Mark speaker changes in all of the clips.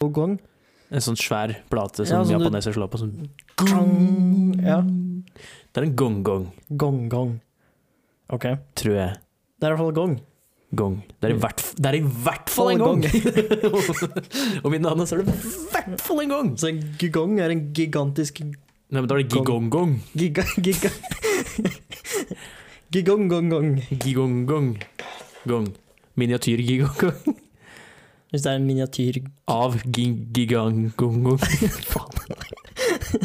Speaker 1: god gong.
Speaker 2: En sånn svær plate som
Speaker 1: Ja, sånn du-
Speaker 2: japaneser slår på. Sånn.
Speaker 1: Gong. Ja.
Speaker 2: Det er en gong-gong,
Speaker 1: Gong-gong. OK. Det
Speaker 2: tror jeg.
Speaker 1: er i hvert fall gong.
Speaker 2: Gong. Det er i hvert, f- det er i hvert fall en gong! Om ikke noe annet, så er det i hvert fall en gong!
Speaker 1: Så en gong er en gigantisk
Speaker 2: Nei, men da er det gigong-gong.
Speaker 1: giga... giga Gigong-gong-gong.
Speaker 2: Gigong-gong. Gong. Miniatyr-gigong-gong.
Speaker 1: Hvis det er en miniatyr
Speaker 2: Av gigong-gong. Faen.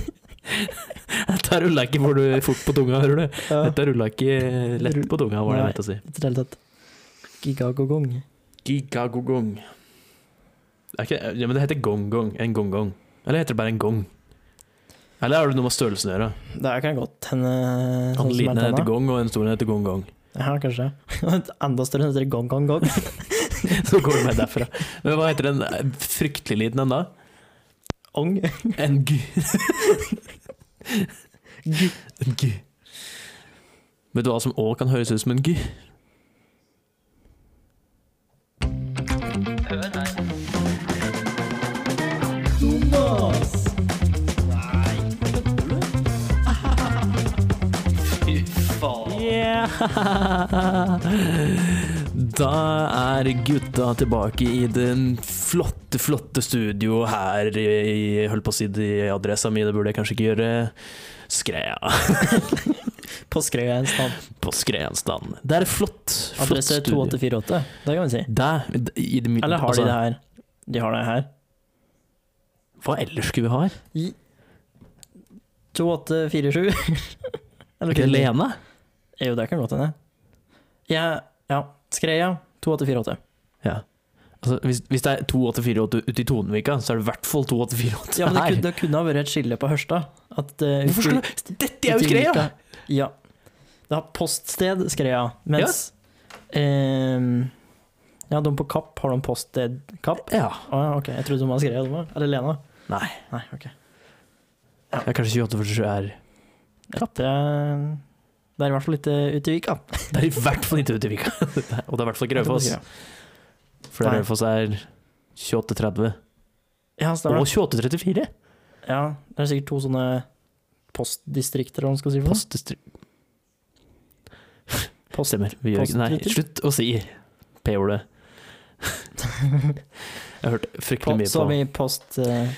Speaker 2: Dette rulla ikke hvor du fort på tunga, hører du.
Speaker 1: ja,
Speaker 2: Dette rulla ikke lett på tunga, var det jeg mente å si.
Speaker 1: I det hele tatt. Gigagogong.
Speaker 2: Gigagogong. Det er ikke, ja, men det heter gong-gong. En gong-gong. Eller heter det bare en gong? Eller har det noe med størrelsen å gjøre?
Speaker 1: Det kan godt hende. sånn som
Speaker 2: Han liten
Speaker 1: er
Speaker 2: heter
Speaker 1: tenna.
Speaker 2: gong, og en stor heter gong-gong.
Speaker 1: Ja, kanskje. Og et enda større heter gong-gong-gong.
Speaker 2: Så går det med derfra. Men hva heter den fryktelig liten en da?
Speaker 1: Ong.
Speaker 2: En g... En g. Vet du hva som òg kan høres ut som en g?
Speaker 1: Jonas!
Speaker 2: Yeah! Da er gutta tilbake i den flotte, flotte studio her i Holdt på å si det i adressa mi, det burde jeg kanskje ikke gjøre. Skrea.
Speaker 1: På Skreia en stad.
Speaker 2: På Skreanstand. Det er et flott, flott
Speaker 1: Adresse
Speaker 2: studio.
Speaker 1: 2848. Det kan vi si.
Speaker 2: Der, i det, altså,
Speaker 1: Eller har de det her? De har det her.
Speaker 2: Hva ellers skulle vi ha?
Speaker 1: 2847.
Speaker 2: Er det ikke
Speaker 1: kunne de?
Speaker 2: Lene?
Speaker 1: Jo, det kan godt hende. Ja, ja. Skreia 2848.
Speaker 2: Ja. Altså, hvis, hvis det er 2848 ute i Tonvika, så er det i hvert fall 2848
Speaker 1: Ja, men det
Speaker 2: her.
Speaker 1: kunne, det kunne ha vært et skille på Hørstad. At, eh,
Speaker 2: Hvorfor skal
Speaker 1: ut-
Speaker 2: du Dette er jo Skreia!
Speaker 1: Ja. Det har poststed Skreia, mens ehm, Ja, de på Kapp har de poststed Kapp.
Speaker 2: Ja.
Speaker 1: Å ja, ok. Jeg trodde de var Skreia, de òg. Eller Lena.
Speaker 2: Nei.
Speaker 1: Nei, ok.
Speaker 2: Det er kanskje 2847 er
Speaker 1: Kapp, det er, det er i hvert fall ikke ute i Vika.
Speaker 2: Det er i hvert fall ikke ute i Vika. Og det er i hvert fall ikke Raufoss. For
Speaker 1: Nei.
Speaker 2: Raufoss er 2830.
Speaker 1: Ja,
Speaker 2: Og
Speaker 1: stemmer.
Speaker 2: 2834!
Speaker 1: Ja, det er sikkert to sånne postdistrikter, eller hva man skal si. for noe.
Speaker 2: Postestri... Stemmer. Vi gjør ikke Nei,
Speaker 1: Postdistrikt.
Speaker 2: slutt å si p-ordet. Jeg har hørt fryktelig
Speaker 1: Post,
Speaker 2: mye
Speaker 1: som
Speaker 2: på
Speaker 1: i post eh,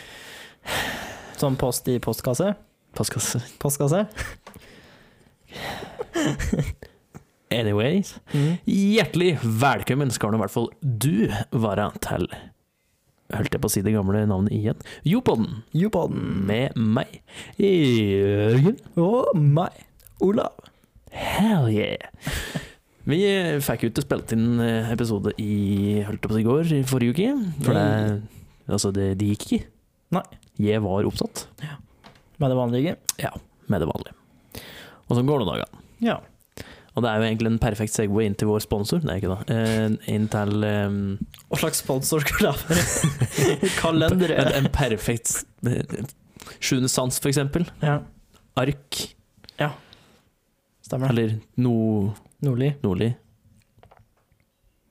Speaker 1: Som post i postkasse?
Speaker 2: postkasse.
Speaker 1: Postkasse?
Speaker 2: Anyways. Hjertelig velkommen skal nå i hvert fall du være til Holdt jeg på å si det gamle navnet igjen? Jopodden,
Speaker 1: Jupodden.
Speaker 2: med meg, Jørgen.
Speaker 1: Og meg, Olav.
Speaker 2: Hell yeah! Vi fikk jo ikke spilt inn eh, episode i holdt jeg på å si i går, i forrige uke. For det, altså det, det gikk ikke.
Speaker 1: Nei.
Speaker 2: Jeg var opptatt
Speaker 1: Med det vanlige.
Speaker 2: med det vanlige. Og sånn går det noen dager.
Speaker 1: Ja.
Speaker 2: Og det er jo egentlig en perfekt segway inn til vår sponsor, nei, ikke da, Eh, inn til eh,
Speaker 1: Hva slags sponsor skulle det være? Kalender.
Speaker 2: En, en perfekt Sjuende sans, for eksempel.
Speaker 1: Ja,
Speaker 2: Ark.
Speaker 1: stemmer det.
Speaker 2: Eller no,
Speaker 1: Nordli.
Speaker 2: Nordli.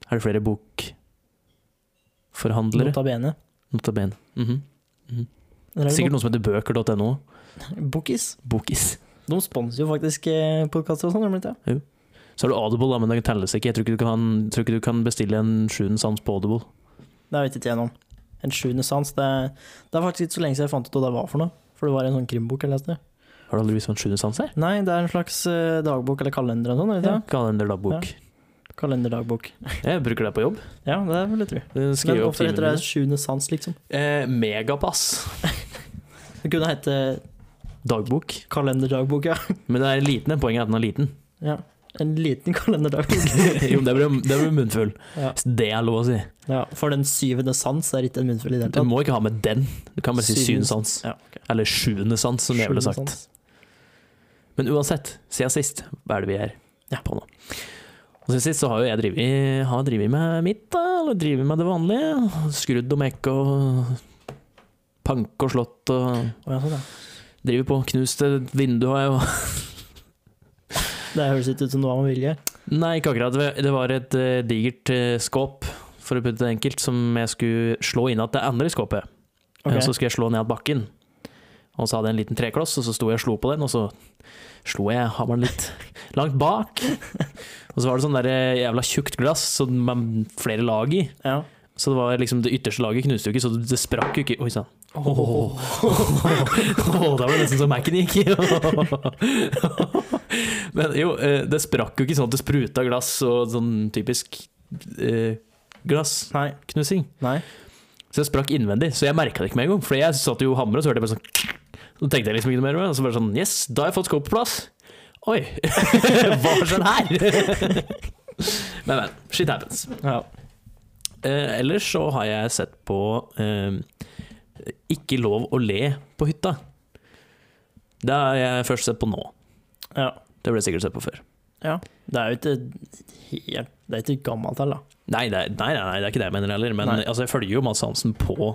Speaker 2: Er det flere bokforhandlere?
Speaker 1: Nota bene.
Speaker 2: Nota bene. Mhm.
Speaker 1: Eller er det
Speaker 2: Sikkert noen som heter bøker.no.
Speaker 1: bok- Bokis.
Speaker 2: Bokis.
Speaker 1: De sponser jo faktisk podkaster og sånn, gjør de ikke det?
Speaker 2: Så har du Audible, da, men det telles ikke. Jeg tror ikke du kan, tror ikke du kan bestille en sjuende sans på Audible.
Speaker 1: Det vet ikke jeg noe om. En sjuende sans. Det, det er faktisk ikke så lenge siden jeg fant ut hva det var for noe. For det var en sånn krimbok jeg leste.
Speaker 2: Har du aldri visst hva en sjuende sans er?
Speaker 1: Nei, det er en slags eh, dagbok eller kalender og sånn. er det ikke det?
Speaker 2: Kalenderdagbok.
Speaker 1: Kalenderdagbok.
Speaker 2: Jeg bruker det på jobb.
Speaker 1: Ja, det vil jeg tro. Men
Speaker 2: Skriver opp
Speaker 1: hvorfor
Speaker 2: timene
Speaker 1: heter det
Speaker 2: mine.
Speaker 1: sjuende sans, liksom?
Speaker 2: Eh, megapass.
Speaker 1: Det kunne hete
Speaker 2: Dagbok.
Speaker 1: kalenderdagbok, ja.
Speaker 2: Men det er liten. det. Poenget er at den er liten.
Speaker 1: ja. En liten kalenderdagbok.
Speaker 2: jo, det blir, det blir munnfull.
Speaker 1: Ja.
Speaker 2: Det er lov å si.
Speaker 1: Ja, for den syvende sans er ikke en munnfull i det
Speaker 2: Du
Speaker 1: hele tatt.
Speaker 2: må ikke ha med den. Du kan bare si
Speaker 1: Syvende-
Speaker 2: synssans.
Speaker 1: Ja, ok.
Speaker 2: Eller sjuende sans, som jeg ville
Speaker 1: Sjuende
Speaker 2: sagt.
Speaker 1: sans.
Speaker 2: Men uansett, siden sist, hva er det vi er
Speaker 1: Ja.
Speaker 2: på nå? Og siden sist så har jo jeg drevet, har drevet med mitt, da, eller drevet med det vanlige. Skrudd og mekk og pank og slått og
Speaker 1: Å, ja, sånn, ja.
Speaker 2: driver på. Knuste vinduet har jeg jo
Speaker 1: Det høres ikke ut som noe man vilje.
Speaker 2: Nei, ikke akkurat. Det- Det var et eh, digert eh, skåp, for å putte det enkelt, som jeg skulle slå inn igjen det andre skåpet.
Speaker 1: Ok.
Speaker 2: Og så skulle jeg slå ned bakken. Og så hadde jeg en liten trekloss, og så sto jeg og slo på den, og så slo jeg hammeren litt langt bak. Og så var det sånn der jævla tjukt glass så med flere lag i.
Speaker 1: Ja.
Speaker 2: Så det var liksom det ytterste laget knuste jo ikke, så det sprakk jo ikke. Oi sånn. sann. Åh, da var det nesten så Mac-en gikk. Men jo, eh, det sprakk jo ikke sånn at det spruta glass og sånn typisk eh,
Speaker 1: Nei.
Speaker 2: glassknusing.
Speaker 1: Nei.
Speaker 2: Så jeg sprakk innvendig, så jeg merka det ikke med en gang. For jeg satt jo og hamra, så hørte jeg bare sånn Så tenkte jeg liksom ikke noe mer over det. Og så bare sånn Yes, da har jeg fått sko på plass. Oi, hva skjedde her? men, men. Shit happens.
Speaker 1: Ja.
Speaker 2: Eh, ellers så har jeg sett på eh, Ikke lov å le på hytta. Det har jeg først sett på nå.
Speaker 1: ja.
Speaker 2: Det ble jeg sikkert sett på før.
Speaker 1: Det er jo ikke helt Det er ikke gammelt heller, da.
Speaker 2: Nei, det er, nei, nei, nei, det er ikke det jeg mener heller, men
Speaker 1: Nei.
Speaker 2: altså, jeg følger jo Mads Hansen på på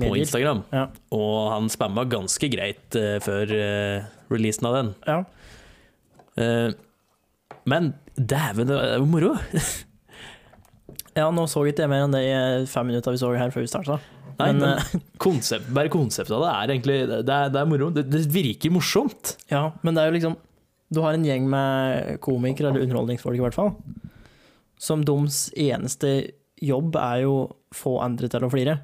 Speaker 1: Medier.
Speaker 2: Instagram.
Speaker 1: Ja.
Speaker 2: Og han spamma ganske greit eh, før eh, releasen av den.
Speaker 1: Ja.
Speaker 2: Eh, men dæven, det er jo moro!
Speaker 1: ja, nå så ikke jeg mer enn det i fem minutter vi så her før vi starta.
Speaker 2: Nei,
Speaker 1: Men, eh,
Speaker 2: men, konsept, bare konseptet av det er egentlig Det er, det er moro. Det, det virker morsomt.
Speaker 1: Ja, men det er jo liksom Du har en gjeng med komikere, eller underholdningsfolk i hvert fall, som deres eneste jobb er jo få andre til å flire.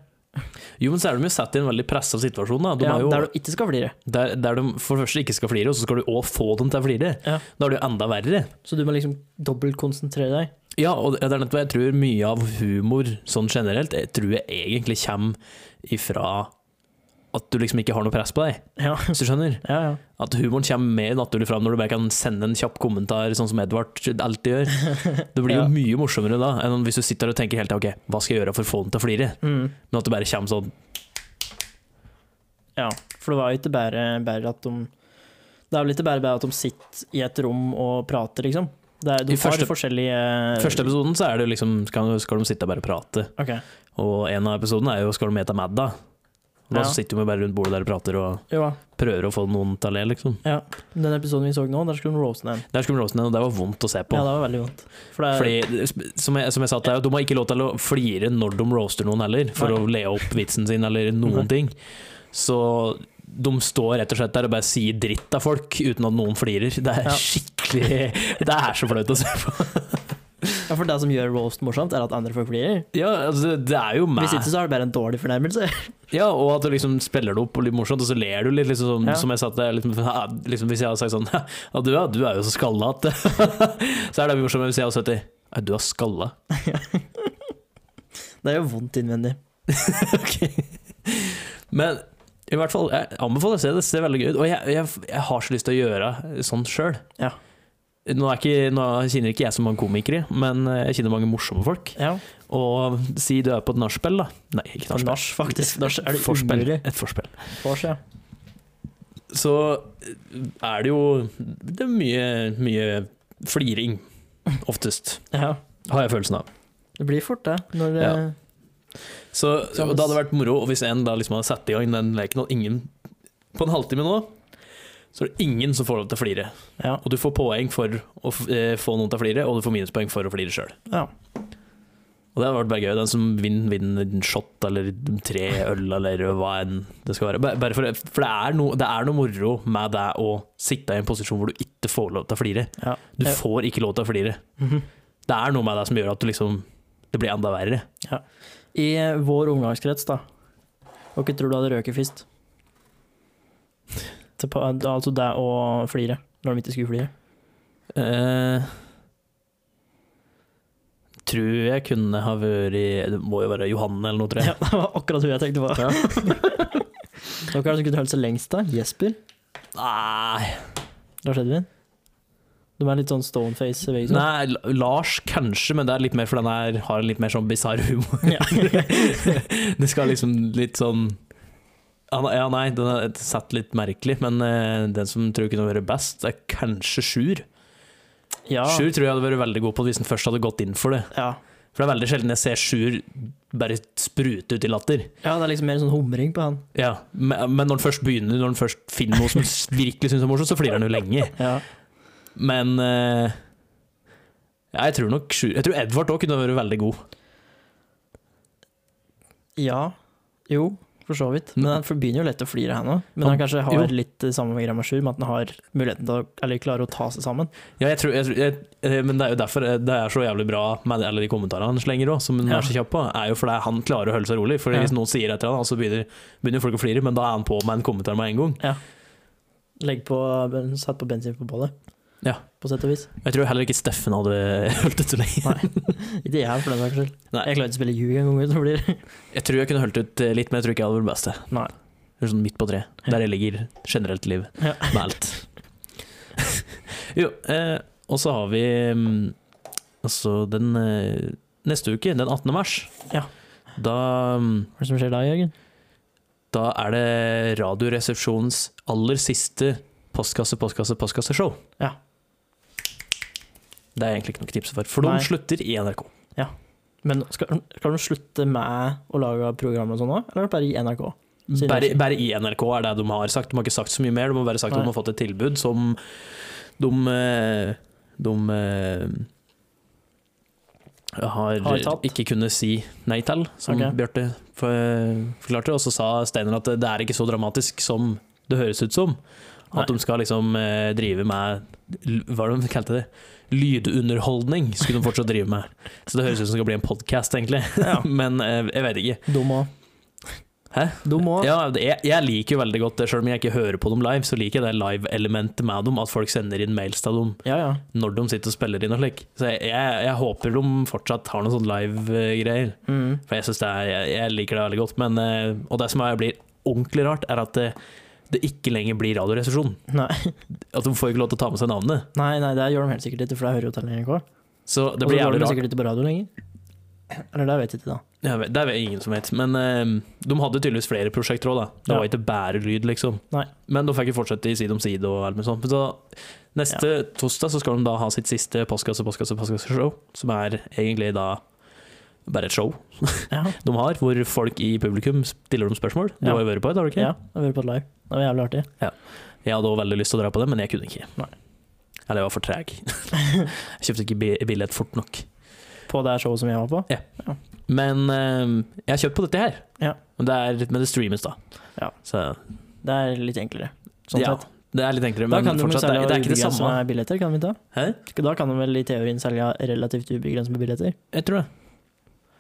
Speaker 2: Jo, men så er de jo satt i en veldig pressa situasjon. Da. De
Speaker 1: ja,
Speaker 2: er jo,
Speaker 1: Der du ikke skal flire.
Speaker 2: der, der de for det første ikke skal flire, og så skal du òg få dem til å flire.
Speaker 1: Ja.
Speaker 2: Da er det jo enda verre.
Speaker 1: Så du må liksom dobbeltkonsentrere deg.
Speaker 2: Ja, og det er nettopp jeg tror mye av humor sånn generelt, jeg tror jeg egentlig kommer ifra at du liksom ikke har noe press på deg,
Speaker 1: Ja,
Speaker 2: hvis du skjønner.
Speaker 1: ja. ja.
Speaker 2: At humoren kommer mer naturlig fram når du bare kan sende en kjapp kommentar, sånn som Edvard alltid gjør. Det blir jo
Speaker 1: Ja.
Speaker 2: mye morsommere da, enn hvis du sitter og tenker helt til ok, hva skal jeg gjøre for å få den til å flire?
Speaker 1: Mm.
Speaker 2: Men at det bare kommer sånn
Speaker 1: ja. For det var jo ikke bare, bare at de Det er vel ikke bare, bare at de sitter i et rom og prater, liksom. Det er, de
Speaker 2: I
Speaker 1: har
Speaker 2: første-
Speaker 1: forskjellige
Speaker 2: Første episoden så er det liksom skal, skal de sitte og bare prate,
Speaker 1: Ok.
Speaker 2: og en av episodene er jo skal de ete middag. Da
Speaker 1: Ja.
Speaker 2: sitter de jo bare rundt bordet der og prater og
Speaker 1: Jo da.
Speaker 2: prøver å få noen til å le, liksom.
Speaker 1: Den episoden vi så nå, der skulle de roaste den.
Speaker 2: Der skulle de roaste den, og det var vondt å se på.
Speaker 1: Ja, det var veldig vondt. For det er
Speaker 2: Fordi, som jeg, som jeg sa til deg, de har ikke lov til å flire når de roaster noen heller, for
Speaker 1: Nei.
Speaker 2: å le opp vitsen sin eller noen
Speaker 1: Nei.
Speaker 2: ting. Så de står rett og slett der og bare sier dritt av folk uten at noen flirer. Det er
Speaker 1: Ja.
Speaker 2: skikkelig Det er så flaut å se på.
Speaker 1: Ja, for det som gjør roast morsomt, er at andre folk flirer.
Speaker 2: Ja, altså, det er jo meg.
Speaker 1: Hvis ikke, så er det bare en dårlig fornærmelse.
Speaker 2: Ja, og at du liksom spiller det opp og litt morsomt, og så ler du litt, liksom, som-
Speaker 1: Ja.
Speaker 2: som jeg sa til deg. Liksom, «Ja, liksom, hvis jeg hadde sagt sånn Ja, du, ja, du er jo så skalla at Så er det morsomt hvis jeg hadde sagt det. «Ja, Du er skalla.
Speaker 1: Det er jo vondt innvendig.
Speaker 2: Ok. Men i hvert fall, jeg anbefaler å se det. Det ser veldig gøy ut. Og jeg, jeg, jeg har så lyst til å gjøre sånn sjøl.
Speaker 1: Ja.
Speaker 2: Nå, er ikke, nå kjenner ikke jeg så mange komikere, men eh, jeg kjenner mange morsomme folk.
Speaker 1: Ja,
Speaker 2: Og si du er på et nachspiel, da. Nei, ikke nachspiel.
Speaker 1: Nach, faktisk. Nach er det
Speaker 2: Forspill.
Speaker 1: umulig.
Speaker 2: Et forspill.
Speaker 1: Fors, ja.
Speaker 2: Så eh, er det jo Det er mye, mye fliring, oftest,
Speaker 1: ja.
Speaker 2: har jeg følelsen av.
Speaker 1: Det blir fort, det. Når
Speaker 2: Ja.
Speaker 1: eh,
Speaker 2: Så
Speaker 1: Så-
Speaker 2: og det hadde vært moro og hvis en da liksom hadde satt i gang den leken og ingen På en halvtime nå, så er det ingen som får lov til å flire.
Speaker 1: ja.
Speaker 2: Og du får poeng for å f- eh, få noen til å flire, og du får minuspoeng for å flire sjøl.
Speaker 1: ja.
Speaker 2: Og det hadde vært bare gøy. Den som vinner, vinner en shot eller tre øl eller hva enn det skal være. Bare- Bare for, for det, er noe- det er noe moro med det å sitte i en posisjon hvor du ikke får lov til å flire.
Speaker 1: Ja.
Speaker 2: Du
Speaker 1: Ja.
Speaker 2: får ikke lov til å flire.
Speaker 1: Mhm.
Speaker 2: Det er noe med det som gjør at du liksom Det blir enda verre.
Speaker 1: I eh, vår omgangskrets, da. Dere tror du hadde røket først? Til pa- Altså det å flire når de ikke skulle flire.
Speaker 2: Eh, tror jeg kunne ha vært Det må jo være Johanne eller noe, tror
Speaker 1: Ja,
Speaker 2: jeg.
Speaker 1: det var akkurat hun jeg tenkte på.
Speaker 2: Ja.
Speaker 1: Dere er det som kunne holdt seg lengst, da. Jesper.
Speaker 2: Nei,
Speaker 1: Lars Edvin. De er litt sånn stoneface. begge to.
Speaker 2: nei, L- Lars kanskje, men det er litt mer fordi den er, har en litt mer sånn bisarr humor.
Speaker 1: Ja.
Speaker 2: det skal liksom litt sånn ja, nei- ja, nei, den er satt litt merkelig, men eh, den som tror jeg kunne vært best, er kanskje Sjur.
Speaker 1: ja.
Speaker 2: Sjur tror jeg hadde vært veldig god på det hvis han først hadde gått inn for det.
Speaker 1: ja.
Speaker 2: For det er veldig sjelden jeg ser Sjur bare sprute ut i latter.
Speaker 1: Ja, det er liksom mer en sånn humring på han.
Speaker 2: Ja, men men når han først begynner, når han først finner noe som virkelig syns er morsomt, så flirer han jo lenge.
Speaker 1: Ja.
Speaker 2: Men eh, ja, jeg tror nok Sjur Jeg tror Edvard òg kunne vært veldig god.
Speaker 1: Jo, for så vidt. Men han begynner jo lett å flire, han òg. Men
Speaker 2: Han-
Speaker 1: han kanskje
Speaker 2: jo.
Speaker 1: har litt eh, samme grammasjur, med at han har muligheten til å eller klarer å ta seg sammen.
Speaker 2: Ja, jeg tror, jeg, tror- jeg, eh, men det er jo derfor eh, det er så jævlig bra med alle de kommentarene han slenger òg, som han
Speaker 1: Ja.
Speaker 2: er så kjapp på, er jo fordi han klarer å holde seg rolig. For
Speaker 1: Ja.
Speaker 2: hvis noen sier et eller annet, så begynner, begynner folk å flire, men da er han på med en kommentar med en gang.
Speaker 1: Legg på Satt på bensin på bålet.
Speaker 2: Ja.
Speaker 1: På sett og vis.
Speaker 2: Jeg tror heller ikke Steffen hadde holdt ut så lenge.
Speaker 1: Ikke jeg, for den saks skyld.
Speaker 2: Nei.
Speaker 1: Jeg klarer ikke å spille ljug engang. uten å bli-
Speaker 2: Jeg tror jeg kunne holdt ut eh, litt, men jeg tror ikke jeg hadde vært best til.
Speaker 1: Nei.
Speaker 2: Eller Sånn midt på tre, der jeg ligger generelt liv
Speaker 1: Ja.
Speaker 2: med alt. jo, eh, og så har vi mm, altså den eh, neste uke, den 18. mars.
Speaker 1: Ja.
Speaker 2: Da, mm,
Speaker 1: Hva er det som skjer da, Jørgen?
Speaker 2: da er det Radioresepsjonens aller siste postkasse, postkasse, postkasseshow.
Speaker 1: Ja.
Speaker 2: Det er egentlig ikke noe tips for, for
Speaker 1: Nei.
Speaker 2: de slutter i NRK.
Speaker 1: Men skal, skal de slutte med å lage program og sånn òg, eller bare i NRK? Siden-
Speaker 2: Bare, bare i NRK er det de har sagt. De har ikke sagt så mye mer. De har bare sagt at
Speaker 1: Nei.
Speaker 2: de har fått et tilbud som de eh, De eh, har,
Speaker 1: Har tatt.
Speaker 2: ikke kunnet si nei til, som
Speaker 1: Ok.
Speaker 2: Bjarte for- forklarte. Og så sa Steinar at det er ikke så dramatisk som det høres ut som. At
Speaker 1: Nei.
Speaker 2: de skal liksom eh, drive med l- Hva var det de kalte det? Lydunderholdning skulle de fortsatt drive med. Så det høres ut som det skal bli en podkast, egentlig.
Speaker 1: Ja.
Speaker 2: Men eh, jeg vet ikke.
Speaker 1: Dum òg.
Speaker 2: Hæ?
Speaker 1: Dum òg.
Speaker 2: Ja, det- jeg, jeg liker jo veldig godt det, selv om jeg ikke hører på dem live, så liker jeg det live-elementet med dem, at folk sender inn mails til dem
Speaker 1: Ja, ja.
Speaker 2: når de sitter og spiller inn og slik. Så jeg, jeg, jeg håper de fortsatt har noen sånne live-greier,
Speaker 1: Mm.
Speaker 2: for jeg synes det er, jeg, jeg liker det veldig godt. Men, eh, og det som er, blir ordentlig rart, er at det, det ikke lenger blir radioresesjon.
Speaker 1: Nei.
Speaker 2: At de får ikke lov til å ta med seg navnet.
Speaker 1: nei, nei, det gjør de helt sikkert ikke, for det hører jo til NRK.
Speaker 2: Så
Speaker 1: Og
Speaker 2: det
Speaker 1: så går
Speaker 2: blir jævlig
Speaker 1: de
Speaker 2: rart.
Speaker 1: sikkert ikke på radio lenger. Eller det vet jeg ikke, da.
Speaker 2: Jeg vet- Det er vel ingen som vet. Men eh, de hadde tydeligvis flere prosjekter òg, da. Det
Speaker 1: Ja.
Speaker 2: var ikke bare lyd, liksom.
Speaker 1: Nei.
Speaker 2: Men de fikk jo fortsette i Side om side og alt mulig sånt. Men Så neste torsdag så skal de da ha sitt siste postkasse, postkasse, postkasse-show, som er egentlig da bare et show
Speaker 1: Ja,
Speaker 2: de har, hvor folk i publikum stiller dem spørsmål. Du
Speaker 1: Ja.
Speaker 2: har jo vært på et, har du ikke?
Speaker 1: ja jeg har vært på et live. Det var jævlig artig.
Speaker 2: Jeg hadde også veldig lyst til å dra på det, men jeg kunne ikke.
Speaker 1: Nei.
Speaker 2: Eller jeg var for treg. jeg kjøpte ikke bi- billett fort nok.
Speaker 1: På det showet som jeg var på.
Speaker 2: Men eh, jeg har kjøpt på dette her.
Speaker 1: Ja.
Speaker 2: Men det, er, men det streames, da.
Speaker 1: Ja.
Speaker 2: Så
Speaker 1: Det er litt enklere, sånn
Speaker 2: ja,
Speaker 1: sett.
Speaker 2: det er litt enklere,
Speaker 1: Da
Speaker 2: men
Speaker 1: kan de jo
Speaker 2: fortsatt, det,
Speaker 1: selge
Speaker 2: er- det er ikke det
Speaker 1: ubegrenset
Speaker 2: samme.
Speaker 1: med billetter, kan vi ta?
Speaker 2: Hæ?
Speaker 1: Da kan de vel i teorien selge relativt ubegrenset med billetter.
Speaker 2: Jeg tror det.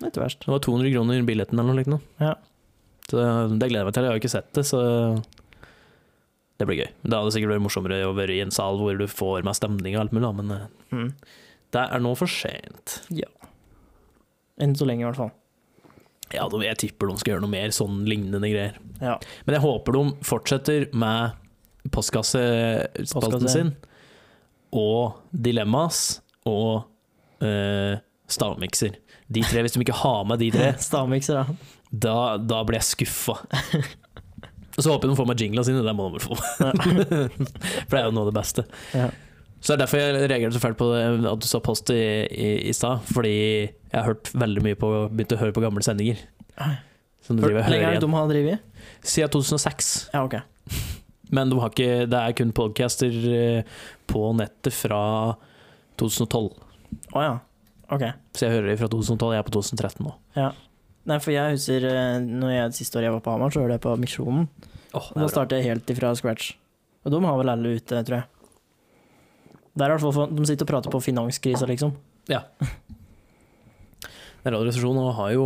Speaker 1: Det er ikke verst.
Speaker 2: Det var 200 kroner billetten eller noe likt. nå.
Speaker 1: Ja.
Speaker 2: Så det gleder jeg meg til. Jeg har jo ikke sett det, så det blir gøy. Det hadde sikkert vært morsommere å være i en sal hvor du får med stemning og alt mulig, da, men eh,
Speaker 1: Mm.
Speaker 2: det er nå for sent.
Speaker 1: Enn så lenge, i hvert fall.
Speaker 2: Ja, de- jeg tipper de skal gjøre noe mer sånn lignende greier.
Speaker 1: Ja.
Speaker 2: Men jeg håper de fortsetter med
Speaker 1: Postkasse.
Speaker 2: postkassespalten sin, og Dilemmas, og eh, stavmikser. De tre, hvis de ikke har med de tre,
Speaker 1: Stavmikser, da.
Speaker 2: Da, da ble jeg skuffa. Og så håper jeg de får med jinglene sine, det må de vel få. For det er jo noe av det beste.
Speaker 1: Ja.
Speaker 2: Så det er derfor jeg reagerte så fælt på det, at du sa post i, i, i stad, fordi jeg har hørt veldig mye på Begynt å høre på gamle sendinger. Som du
Speaker 1: Hvor
Speaker 2: driver
Speaker 1: lenge
Speaker 2: og
Speaker 1: er
Speaker 2: hører
Speaker 1: det
Speaker 2: igjen.
Speaker 1: de har drevet i?
Speaker 2: Siden 2006.
Speaker 1: Ja, ok.
Speaker 2: Men de har ikke, det er kun podcaster eh, på nettet fra 2012.
Speaker 1: Å ja. Ok.
Speaker 2: Så jeg hører det fra 2012, jeg er på 2013 nå.
Speaker 1: Nei, for jeg husker eh, når jeg siste året jeg var på Hamar, så hørte jeg på Misjonen.
Speaker 2: Åh,
Speaker 1: Og da
Speaker 2: det er bra.
Speaker 1: starter jeg helt ifra scratch. Og de har vel alle ute, tror jeg. Det er i hvert fall for, De sitter og prater på finanskrisa, liksom.
Speaker 2: Radioresepsjonen har jo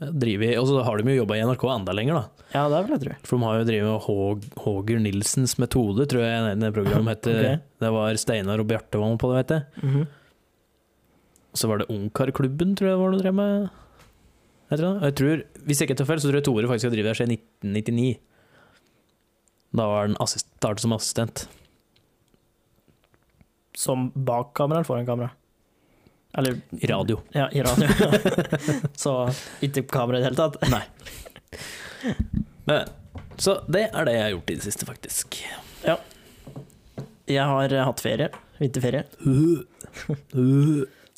Speaker 2: drevet Og så har de jo jobba i NRK enda lenger, da.
Speaker 1: Ja, det vil jeg tro.
Speaker 2: For de har jo drevet med Haag, Haager Nilsens metode, tror jeg det programmet heter.
Speaker 1: Ok.
Speaker 2: Det var Steinar og Bjarte var med på det, vet jeg.
Speaker 1: Mhm.
Speaker 2: Så var det Ungkarklubben, tror jeg det var noe drev med. Jeg tror, det. Og jeg tror, hvis jeg ikke tar feil, så tror jeg Tore faktisk har drevet der siden 1999. Da var han assist, startet som assistent.
Speaker 1: Som bak kamera eller foran kamera? Eller
Speaker 2: I radio.
Speaker 1: Ja, i radio. så ikke kamera i det hele tatt.
Speaker 2: Nei. Men, så det er det jeg har gjort i det siste, faktisk.
Speaker 1: Jeg har eh, hatt ferie. Vinterferie.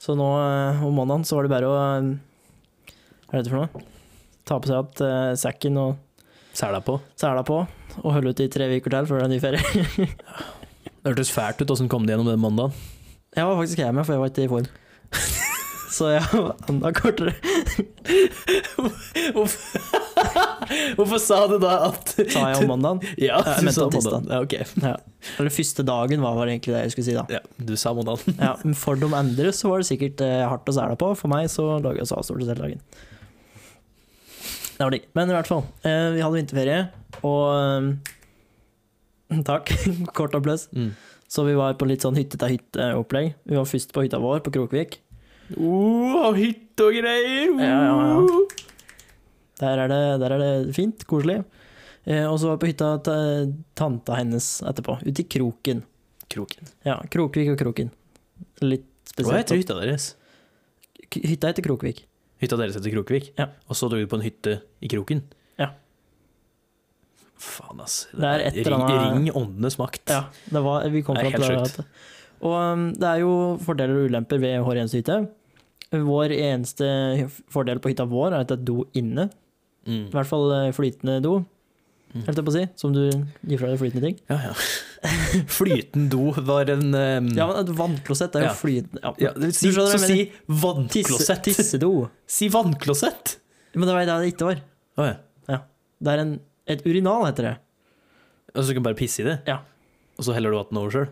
Speaker 1: Så nå eh, om mandagen så var det bare å eh, Hva er dette for noe? Ta på seg at eh, sekken og
Speaker 2: Sæla på.
Speaker 1: sela på, og holde ut i tre uker til før det er ny ferie.
Speaker 2: Det hørtes fælt ut. Åssen kom de gjennom den mandagen?
Speaker 1: Jeg var faktisk hjemme, for jeg var ikke i form. Så jeg var enda kortere.
Speaker 2: Hvorfor Hvorfor sa du da at
Speaker 1: sa jeg om mandagen.
Speaker 2: Ja,
Speaker 1: Jeg
Speaker 2: du
Speaker 1: mente
Speaker 2: sa
Speaker 1: tirsdag.
Speaker 2: mandagen. Ja, ok.
Speaker 1: Ja. Eller første dagen var vel egentlig det jeg skulle si, da.
Speaker 2: Ja, du sa mandagen.
Speaker 1: Ja, men for de andre så var det sikkert eh, hardt å sæle på. For meg så lager jeg saus stort sett hele dagen. Det var digg. Men i hvert fall, eh, vi hadde vinterferie, og eh, Takk. Kort applaus.
Speaker 2: Mm.
Speaker 1: Så vi var på litt sånn hytte-til-hytte-opplegg. Vi var først på hytta vår på Krokvik.
Speaker 2: Oh, hytte og greier! Uh.
Speaker 1: Ja, ja, ja. Der er det, der er det fint, koselig. Eh, og så var vi på hytta til tanta hennes etterpå, ute i Kroken.
Speaker 2: Kroken.
Speaker 1: Ja, Krokvik og Kroken. Litt
Speaker 2: Hva
Speaker 1: spesielt.
Speaker 2: heter hytta deres?
Speaker 1: K- Hytta heter Krokvik.
Speaker 2: Hytta deres heter Krokvik?
Speaker 1: Ja.
Speaker 2: Og så dro du på en hytte i Kroken?
Speaker 1: Ja.
Speaker 2: Faen, ass.
Speaker 1: Det er et eller
Speaker 2: ring,
Speaker 1: annet-
Speaker 2: ring åndenes makt.
Speaker 1: Ja, det var, vi kom
Speaker 2: Det
Speaker 1: fram
Speaker 2: er
Speaker 1: til
Speaker 2: helt
Speaker 1: det.
Speaker 2: sjukt.
Speaker 1: Og um, det er jo fordeler og ulemper ved hver eneste hytte. Vår eneste fordel på hytta vår er at det er do inne.
Speaker 2: Mm.
Speaker 1: I hvert fall eh, flytende do,
Speaker 2: Mm.
Speaker 1: holdt jeg på å si. Som du gir fra deg flytende ting.
Speaker 2: Ja, ja. Flyten do var en um,
Speaker 1: Ja, men et vannklosett er jo
Speaker 2: Ja.
Speaker 1: flytende ja.
Speaker 2: ja, Si,
Speaker 1: Du skjønner
Speaker 2: så
Speaker 1: hva jeg
Speaker 2: si
Speaker 1: Tisse,
Speaker 2: vannklosett.
Speaker 1: tissedo.
Speaker 2: Si vannklosett!
Speaker 1: Men det var det det ikke var.
Speaker 2: Å ja.
Speaker 1: Det er en, et urinal, heter det.
Speaker 2: Og så du kan bare pisse i det?
Speaker 1: Ja.
Speaker 2: Og så heller du vannet over sjøl?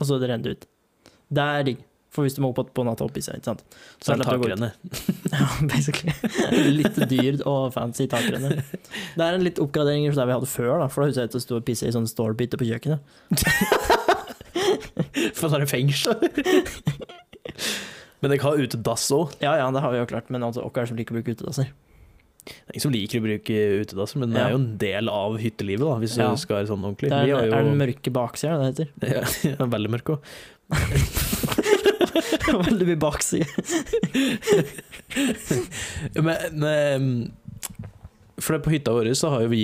Speaker 1: Og så det renner det ut. Det er digg. For hvis du må opp på natta og pisse, ikke sant.
Speaker 2: Så er det
Speaker 1: slipper du å gå ut.
Speaker 2: takrenne.
Speaker 1: Ja, basically. Litt dyrt og fancy takrenne. Det er en litt oppgradering fra det vi hadde før, da, for da husker jeg at det sto og pisse i sånn stålbiter på kjøkkenet.
Speaker 2: For da er det fengsel. Men jeg har utedass òg.
Speaker 1: Ja ja, det har vi jo klart, men altså, hvem er det som liker å bruke utedasser?
Speaker 2: Ingen som liker å bruke utedasser, men det
Speaker 1: Ja.
Speaker 2: er jo en del av hyttelivet, da, hvis
Speaker 1: Ja.
Speaker 2: du skal være sånn ordentlig.
Speaker 1: Det er,
Speaker 2: Vi har
Speaker 1: er den
Speaker 2: jo
Speaker 1: mørke baksida det heter.
Speaker 2: ja, det er veldig mørk òg.
Speaker 1: Veldig mye bakside.
Speaker 2: Men eh, For det på hytta vår så har jo vi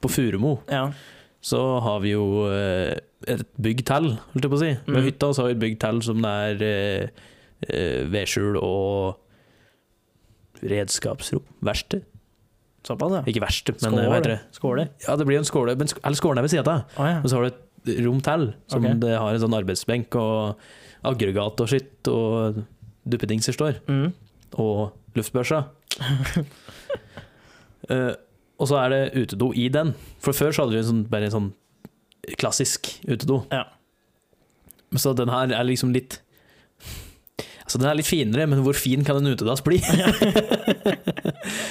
Speaker 2: På Furumo
Speaker 1: Ja.
Speaker 2: så har vi jo eh, et bygg til, holdt jeg på å si. Med
Speaker 1: Mm.
Speaker 2: hytta så har vi et bygg til som det er eh, eh, vedskjul og redskapsrom. Verksted?
Speaker 1: Såpass, ja.
Speaker 2: Ikke verksted, men eh, hva heter
Speaker 1: Skål.
Speaker 2: det?
Speaker 1: Skåle.
Speaker 2: Ja, det blir en skåle, men sk eller skålen er ved siden av.
Speaker 1: Å ja.
Speaker 2: Og så har du et rom til, som
Speaker 1: Ok.
Speaker 2: det har en sånn arbeidsbenk og aggregat og skitt, og duppedingser står,
Speaker 1: Mm.
Speaker 2: og luftbørsa. Eh, og så er det utedo i den. For før så hadde vi en sånn, bare en sånn klassisk utedo.
Speaker 1: Ja.
Speaker 2: Så den her er liksom litt Altså, den er litt finere, men hvor fin kan en utedass bli?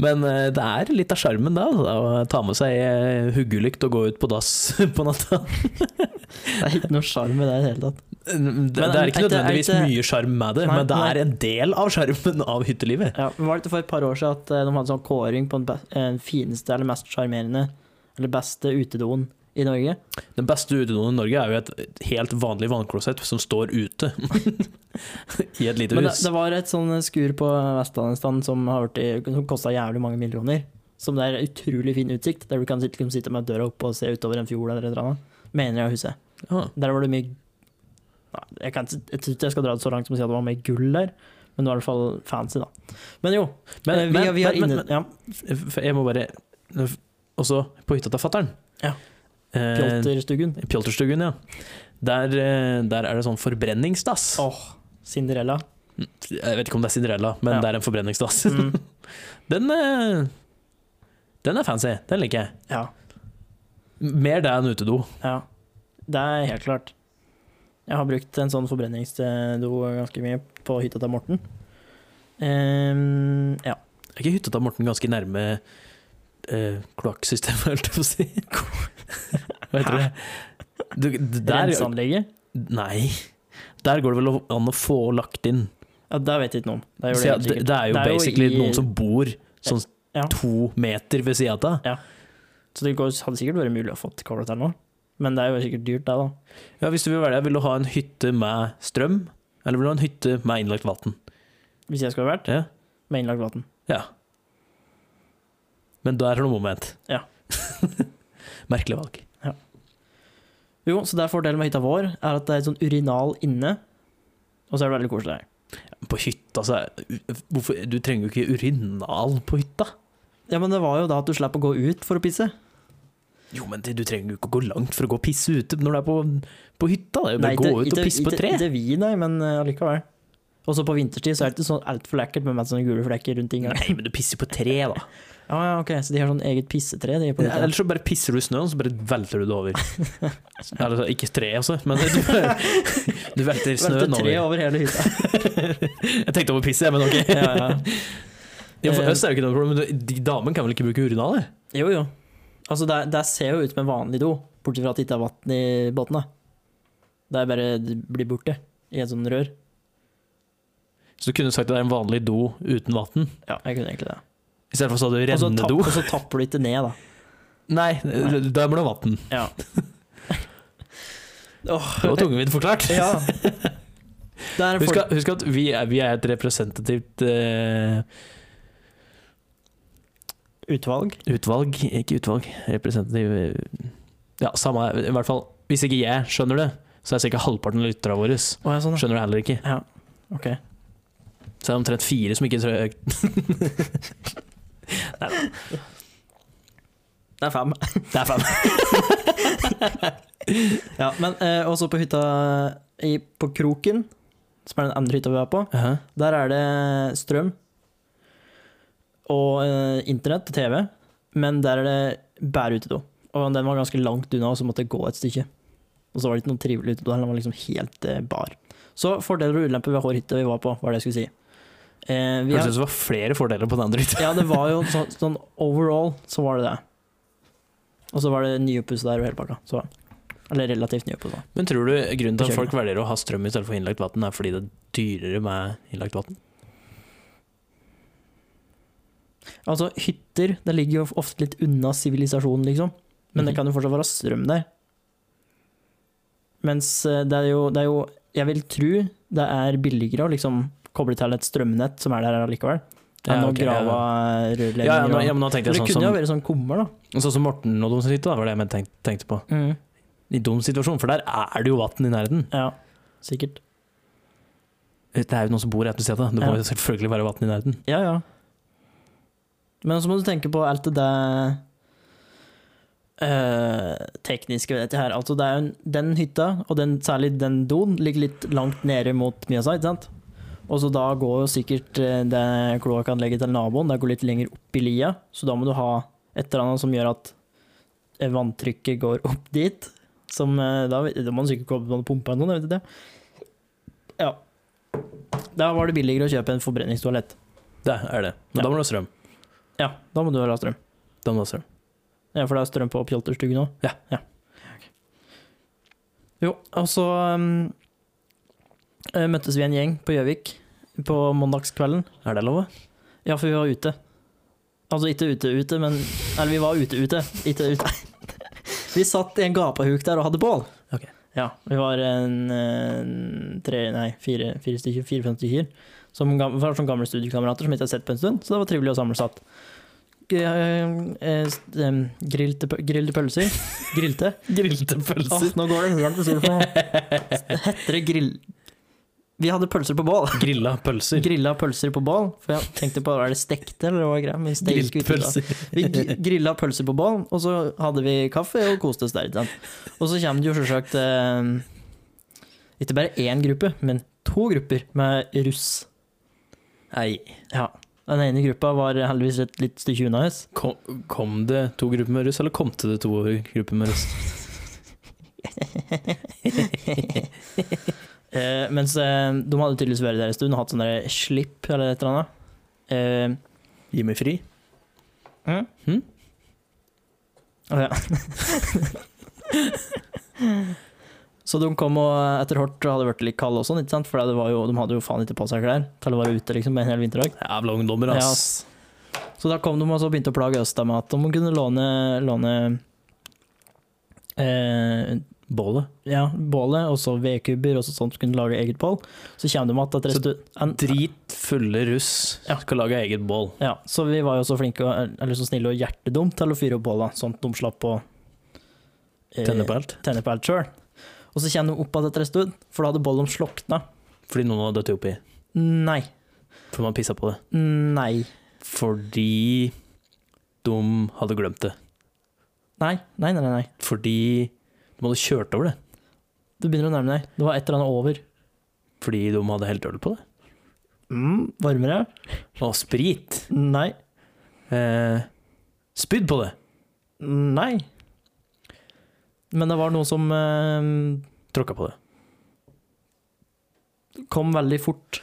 Speaker 2: Men eh, det er litt av sjarmen da, da, å ta med seg eh, huggelykt og gå ut på dass på natta.
Speaker 1: Det er ikke noe sjarm i det i det hele tatt.
Speaker 2: Det, det er ikke
Speaker 1: er ikke- er
Speaker 2: nødvendigvis
Speaker 1: ikke-
Speaker 2: mye sjarm med det,
Speaker 1: Nei,
Speaker 2: men det
Speaker 1: nei.
Speaker 2: er en del av sjarmen av hyttelivet.
Speaker 1: Ja, men var det ikke for et par år siden at eh, de hadde sånn kåring på den be- eh, fineste eller mest sjarmerende, eller beste utedoen i Norge?
Speaker 2: Den beste utedoen i Norge er jo et helt vanlig vannklosett som står ute i et lite
Speaker 1: Men det,
Speaker 2: hus.
Speaker 1: det var et sånn skur på Vestlandet stand som, har vært i- som kosta jævlig mange millioner. Som det er utrolig fin utsikt, der du kan sitte, kunne sitte med døra oppe og se utover en fjord eller et eller annet. Mener jeg å huske.
Speaker 2: Ah,
Speaker 1: Der var det mye Nei, jeg, kan, ikke- jeg tror ikke jeg skal dra det så langt som å si at det var mye gull der, men det var i hvert fall fancy, da. Men jo,
Speaker 2: Men,
Speaker 1: eh, vi,
Speaker 2: men,
Speaker 1: vi har
Speaker 2: men,
Speaker 1: inne...
Speaker 2: men,
Speaker 1: ja,
Speaker 2: F- for Jeg må bare Også på hytta til fatter'n.
Speaker 1: Ja.
Speaker 2: Eh,
Speaker 1: Pjolterstuggen.
Speaker 2: Pjolterstuggen, ja. Der, eh, der er det sånn forbrenningsdass.
Speaker 1: Åh, Cinderella.
Speaker 2: Jeg vet ikke om det er Cinderella, men
Speaker 1: Ja.
Speaker 2: det er en forbrenningsdass.
Speaker 1: Mm,
Speaker 2: Den, eh, den er fancy. Den liker jeg.
Speaker 1: ja,
Speaker 2: Mer det enn utedo.
Speaker 1: ja. Det er helt klart. Jeg har brukt en sånn forbrenningsdo ganske mye på hytta til Morten. Ehm, ja.
Speaker 2: Er ikke hytta til Morten ganske nærme eh, kloakksystemet, holdt jeg på å si? Hva heter det? Du, d- der,
Speaker 1: Renseanlegget?
Speaker 2: nei. Der går det vel an å få lagt inn
Speaker 1: Ja, det vet jeg ikke noe om. Det gjør
Speaker 2: Så
Speaker 1: det,
Speaker 2: ja,
Speaker 1: helt
Speaker 2: det,
Speaker 1: sikkert.
Speaker 2: det er jo
Speaker 1: Det er jo
Speaker 2: basically
Speaker 1: i-
Speaker 2: noen som bor sånn
Speaker 1: Ja.
Speaker 2: to meter ved sida av.
Speaker 1: Så det går, hadde sikkert vært mulig å få koblet til nå. Men det er jo sikkert dyrt, det, da.
Speaker 2: Ja, hvis du vil velge, vil du ha en hytte med strøm, eller vil du ha en hytte med innlagt vann?
Speaker 1: Hvis jeg skulle vært
Speaker 2: Ja.
Speaker 1: med innlagt vann.
Speaker 2: ja. Men der har du moment.
Speaker 1: Ja.
Speaker 2: Merkelig valg.
Speaker 1: Jo, så det er fordelen med hytta vår, er at det er et sånn urinal inne. Og så er det veldig koselig her.
Speaker 2: På hytta, så er hvorfor, Du trenger jo ikke urinal på hytta.
Speaker 1: Ja, men det var jo da at du slapp å gå ut for å pisse.
Speaker 2: Jo, men det, du trenger jo ikke å gå langt for å gå og pisse ute når du er på, på hytta. Det er jo bare
Speaker 1: Nei,
Speaker 2: å gå
Speaker 1: ikke-
Speaker 2: ut og
Speaker 1: ikke-
Speaker 2: pisse på et
Speaker 1: ikke-
Speaker 2: tre.
Speaker 1: Ikke vi, nei, men eh, allikevel. Og så på vinterstid så er det ikke sånn altfor lekkert med masse sånne gule flekker rundt tingene.
Speaker 2: Nei, men du pisser på tre, da.
Speaker 1: Ja, ja, ok, så de har sånn eget pissetre? De på
Speaker 2: Ja,
Speaker 1: vinteren.
Speaker 2: Ellers så bare pisser du i snøen, så bare velter du det over. Eller, så- ikke treet, altså, men du, du velter snøen
Speaker 1: Velte tre
Speaker 2: over.
Speaker 1: over hele hytta.
Speaker 2: Jeg tenkte over pisset, men ok.
Speaker 1: ja, ja. Eh,
Speaker 2: Ja, for oss er det jo ikke noe problem, men de damene kan vel ikke bruke urinalet?
Speaker 1: Jo, jo. Altså, det, det ser jo ut som en vanlig do, bortsett fra at det ikke er vann i båten. da. Det er bare det blir borte i et sånt rør.
Speaker 2: Så du kunne sagt at det er en vanlig do uten vann,
Speaker 1: Ja, jeg kunne egentlig det.
Speaker 2: i stedet for å sa du
Speaker 1: Og så tapp-
Speaker 2: rennedo.
Speaker 1: Og så tapper du ikke ned, da.
Speaker 2: Nei, da må du ha vann.
Speaker 1: Ja.
Speaker 2: Det var tungevint forklart.
Speaker 1: ja. Det er
Speaker 2: Husk
Speaker 1: folk
Speaker 2: at, husk at vi, er, vi er et representativt eh,
Speaker 1: utvalg.
Speaker 2: utvalg Ikke utvalg, representativ eh, Ja, samme I hvert fall, hvis ikke jeg skjønner det, så er sikkert halvparten av lytterne våre
Speaker 1: Å, ja, sånn, ja.
Speaker 2: skjønner det heller ikke.
Speaker 1: Ja. Ok.
Speaker 2: Så det er omtrent fire som ikke tror
Speaker 1: Det er fem.
Speaker 2: Det er fem.
Speaker 1: Ja, men eh, også på hytta i, på Kroken, som er den andre hytta vi var på,
Speaker 2: Aha.
Speaker 1: Der er det strøm og eh, internett og TV, men der er det bare utedo. Og den var ganske langt unna, og så måtte jeg gå et stykke. Og så var det ikke noe trivelig utedo, den var liksom helt eh, bar. Så fordeler og ulemper ved hver hytte vi var på, var det jeg skulle si. Eh, vi
Speaker 2: Hørtes ut som det var flere fordeler på den andre hytta.
Speaker 1: ja, det var jo sånn, sånn overall, så var det det. Og så var det nyoppussa der og hele pakka. Så, eller relativt nyoppussa.
Speaker 2: Men tror du grunnen til at
Speaker 1: Kjøkken.
Speaker 2: folk velger å ha strøm i stedet for innlagt vann, er fordi det er dyrere med innlagt vann?
Speaker 1: Altså, hytter det ligger jo ofte litt unna sivilisasjonen, liksom. Men det
Speaker 2: Mhm.
Speaker 1: kan jo fortsatt være strøm der. Mens eh, det er jo, det er jo Jeg vil tro det er billigere å liksom koble til et strømnett som er der allikevel, enn
Speaker 2: Ja,
Speaker 1: å
Speaker 2: ok, ja,
Speaker 1: grave
Speaker 2: ja.
Speaker 1: rørledninger.
Speaker 2: Ja, ja, nå-
Speaker 1: og-
Speaker 2: ja, men nå tenkte
Speaker 1: For
Speaker 2: jeg
Speaker 1: det kunne
Speaker 2: sånn
Speaker 1: jo
Speaker 2: som,
Speaker 1: vært sånn kummer, da.
Speaker 2: sånn som Morten og de sitter, da, var det jeg tenkte, tenkte på. I dum situasjon, for der er det jo vann i nærheten.
Speaker 1: Ja, sikkert.
Speaker 2: Det er jo noen som bor rett ved siden av. Det må
Speaker 1: Ja.
Speaker 2: jo selvfølgelig være vann i nærheten.
Speaker 1: Ja, ja. Men så må du tenke på alt det der eh, tekniske ved dette her. Altså, det er jo en, den hytta, og den, særlig den doen, ligger litt langt nede mot Mjøsa, ikke sant? Og så da går jo sikkert eh, det kloakkanlegget til naboen, det går litt lenger opp i lia, så da må du ha et eller annet som gjør at eh, vanntrykket går opp dit. Som eh, da, da må du sikkert komme på en pumpe eller noe, jeg vet ikke det. Ja. Da var det billigere å kjøpe en forbrenningstoalett.
Speaker 2: Det er det. Men
Speaker 1: Ja.
Speaker 2: da må du ha strøm.
Speaker 1: Ja, da må du vel ha strøm.
Speaker 2: Da må du ha strøm.
Speaker 1: Ja, for det er strøm på pjolterstugen òg?
Speaker 2: Ja.
Speaker 1: Jo, og så um, eh, møttes vi en gjeng på Gjøvik på mandagskvelden.
Speaker 2: Er det lov? da?
Speaker 1: Ja, for vi var ute. Altså ikke ute ute, men Eller vi var ute ute. Ikke ute. Vi satt i en gapahuk der og hadde bål.
Speaker 2: Ok.
Speaker 1: Ja, vi var en, eh, tre, nei, fire, fire stykker, fire-fem stykker. Som, gam- var sånne gamle studiekamerater som ikke jeg har sett på en stund, så det var trivelig å samles att. G- eh, eh, st- em, Grilte, pø- grilte pølser. Grilte.
Speaker 2: Grilte
Speaker 1: Åh, nå går det helt til siden. Heter det grill... Vi hadde pølser på bål.
Speaker 2: Grilla pølser.
Speaker 1: Grilla pølser på bål. For jeg tenkte på, er det stekte, eller hva er greia? Men steik skulle ikke da.
Speaker 2: Grillpølser.
Speaker 1: Vi gr- grilla pølser på bål, og så hadde vi kaffe og koste oss der. ikke sant? Og så kommer det jo selvsagt eh, ikke bare én gruppe, men to grupper med russ.
Speaker 2: Nei.
Speaker 1: Ja. Den ene gruppa var heldigvis et litt stykke unna oss.
Speaker 2: Kom, kom det to grupper med russ, eller kom det to grupper med russ?
Speaker 1: Eh, mens eh, de hadde tydeligvis vært der en stund og hatt sånn der slipp eller et eller annet. Eh,
Speaker 2: Gi meg fri.
Speaker 1: Å, ja. så de kom og etter hvert hadde vært litt kalde og sånn, ikke sant? For det var jo, de hadde jo faen ikke på seg klær til å være ute liksom, en hel vinterdag.
Speaker 2: Jævla ungdommer,
Speaker 1: Ja,
Speaker 2: ass.
Speaker 1: ass. Så da kom de og så begynte å plage oss da med at de kunne låne, låne eh,
Speaker 2: Bålet.
Speaker 1: ja, bålet, og så vedkubber og så sånt, så kunne de lage eget bål. Så kommer de at at
Speaker 2: Så
Speaker 1: restu- en-
Speaker 2: Dritfulle russ
Speaker 1: Ja.
Speaker 2: skal lage eget bål.
Speaker 1: Ja, så vi var jo så flinke, og- eller så snille og hjertedumt til å fyre opp bålet, sånn at de slapp å eh,
Speaker 2: Tenne på alt.
Speaker 1: tenne på alt sjøl. Og så kommer de opp igjen etter en stund, for da hadde bollen slokna.
Speaker 2: Fordi noen hadde dødd oppi.
Speaker 1: Nei.
Speaker 2: For man pissa på det.
Speaker 1: Nei.
Speaker 2: Fordi de hadde glemt det.
Speaker 1: Nei, nei, nei. nei.
Speaker 2: Fordi de hadde kjørt over det.
Speaker 1: Du begynner å nærme deg. Det var et eller annet over.
Speaker 2: Fordi de hadde helt øl på det.
Speaker 1: Mm, varmere?
Speaker 2: Og sprit.
Speaker 1: Nei.
Speaker 2: Eh, spydd på det.
Speaker 1: Nei. Men det var noe som eh,
Speaker 2: Tråkka på det.
Speaker 1: kom veldig fort.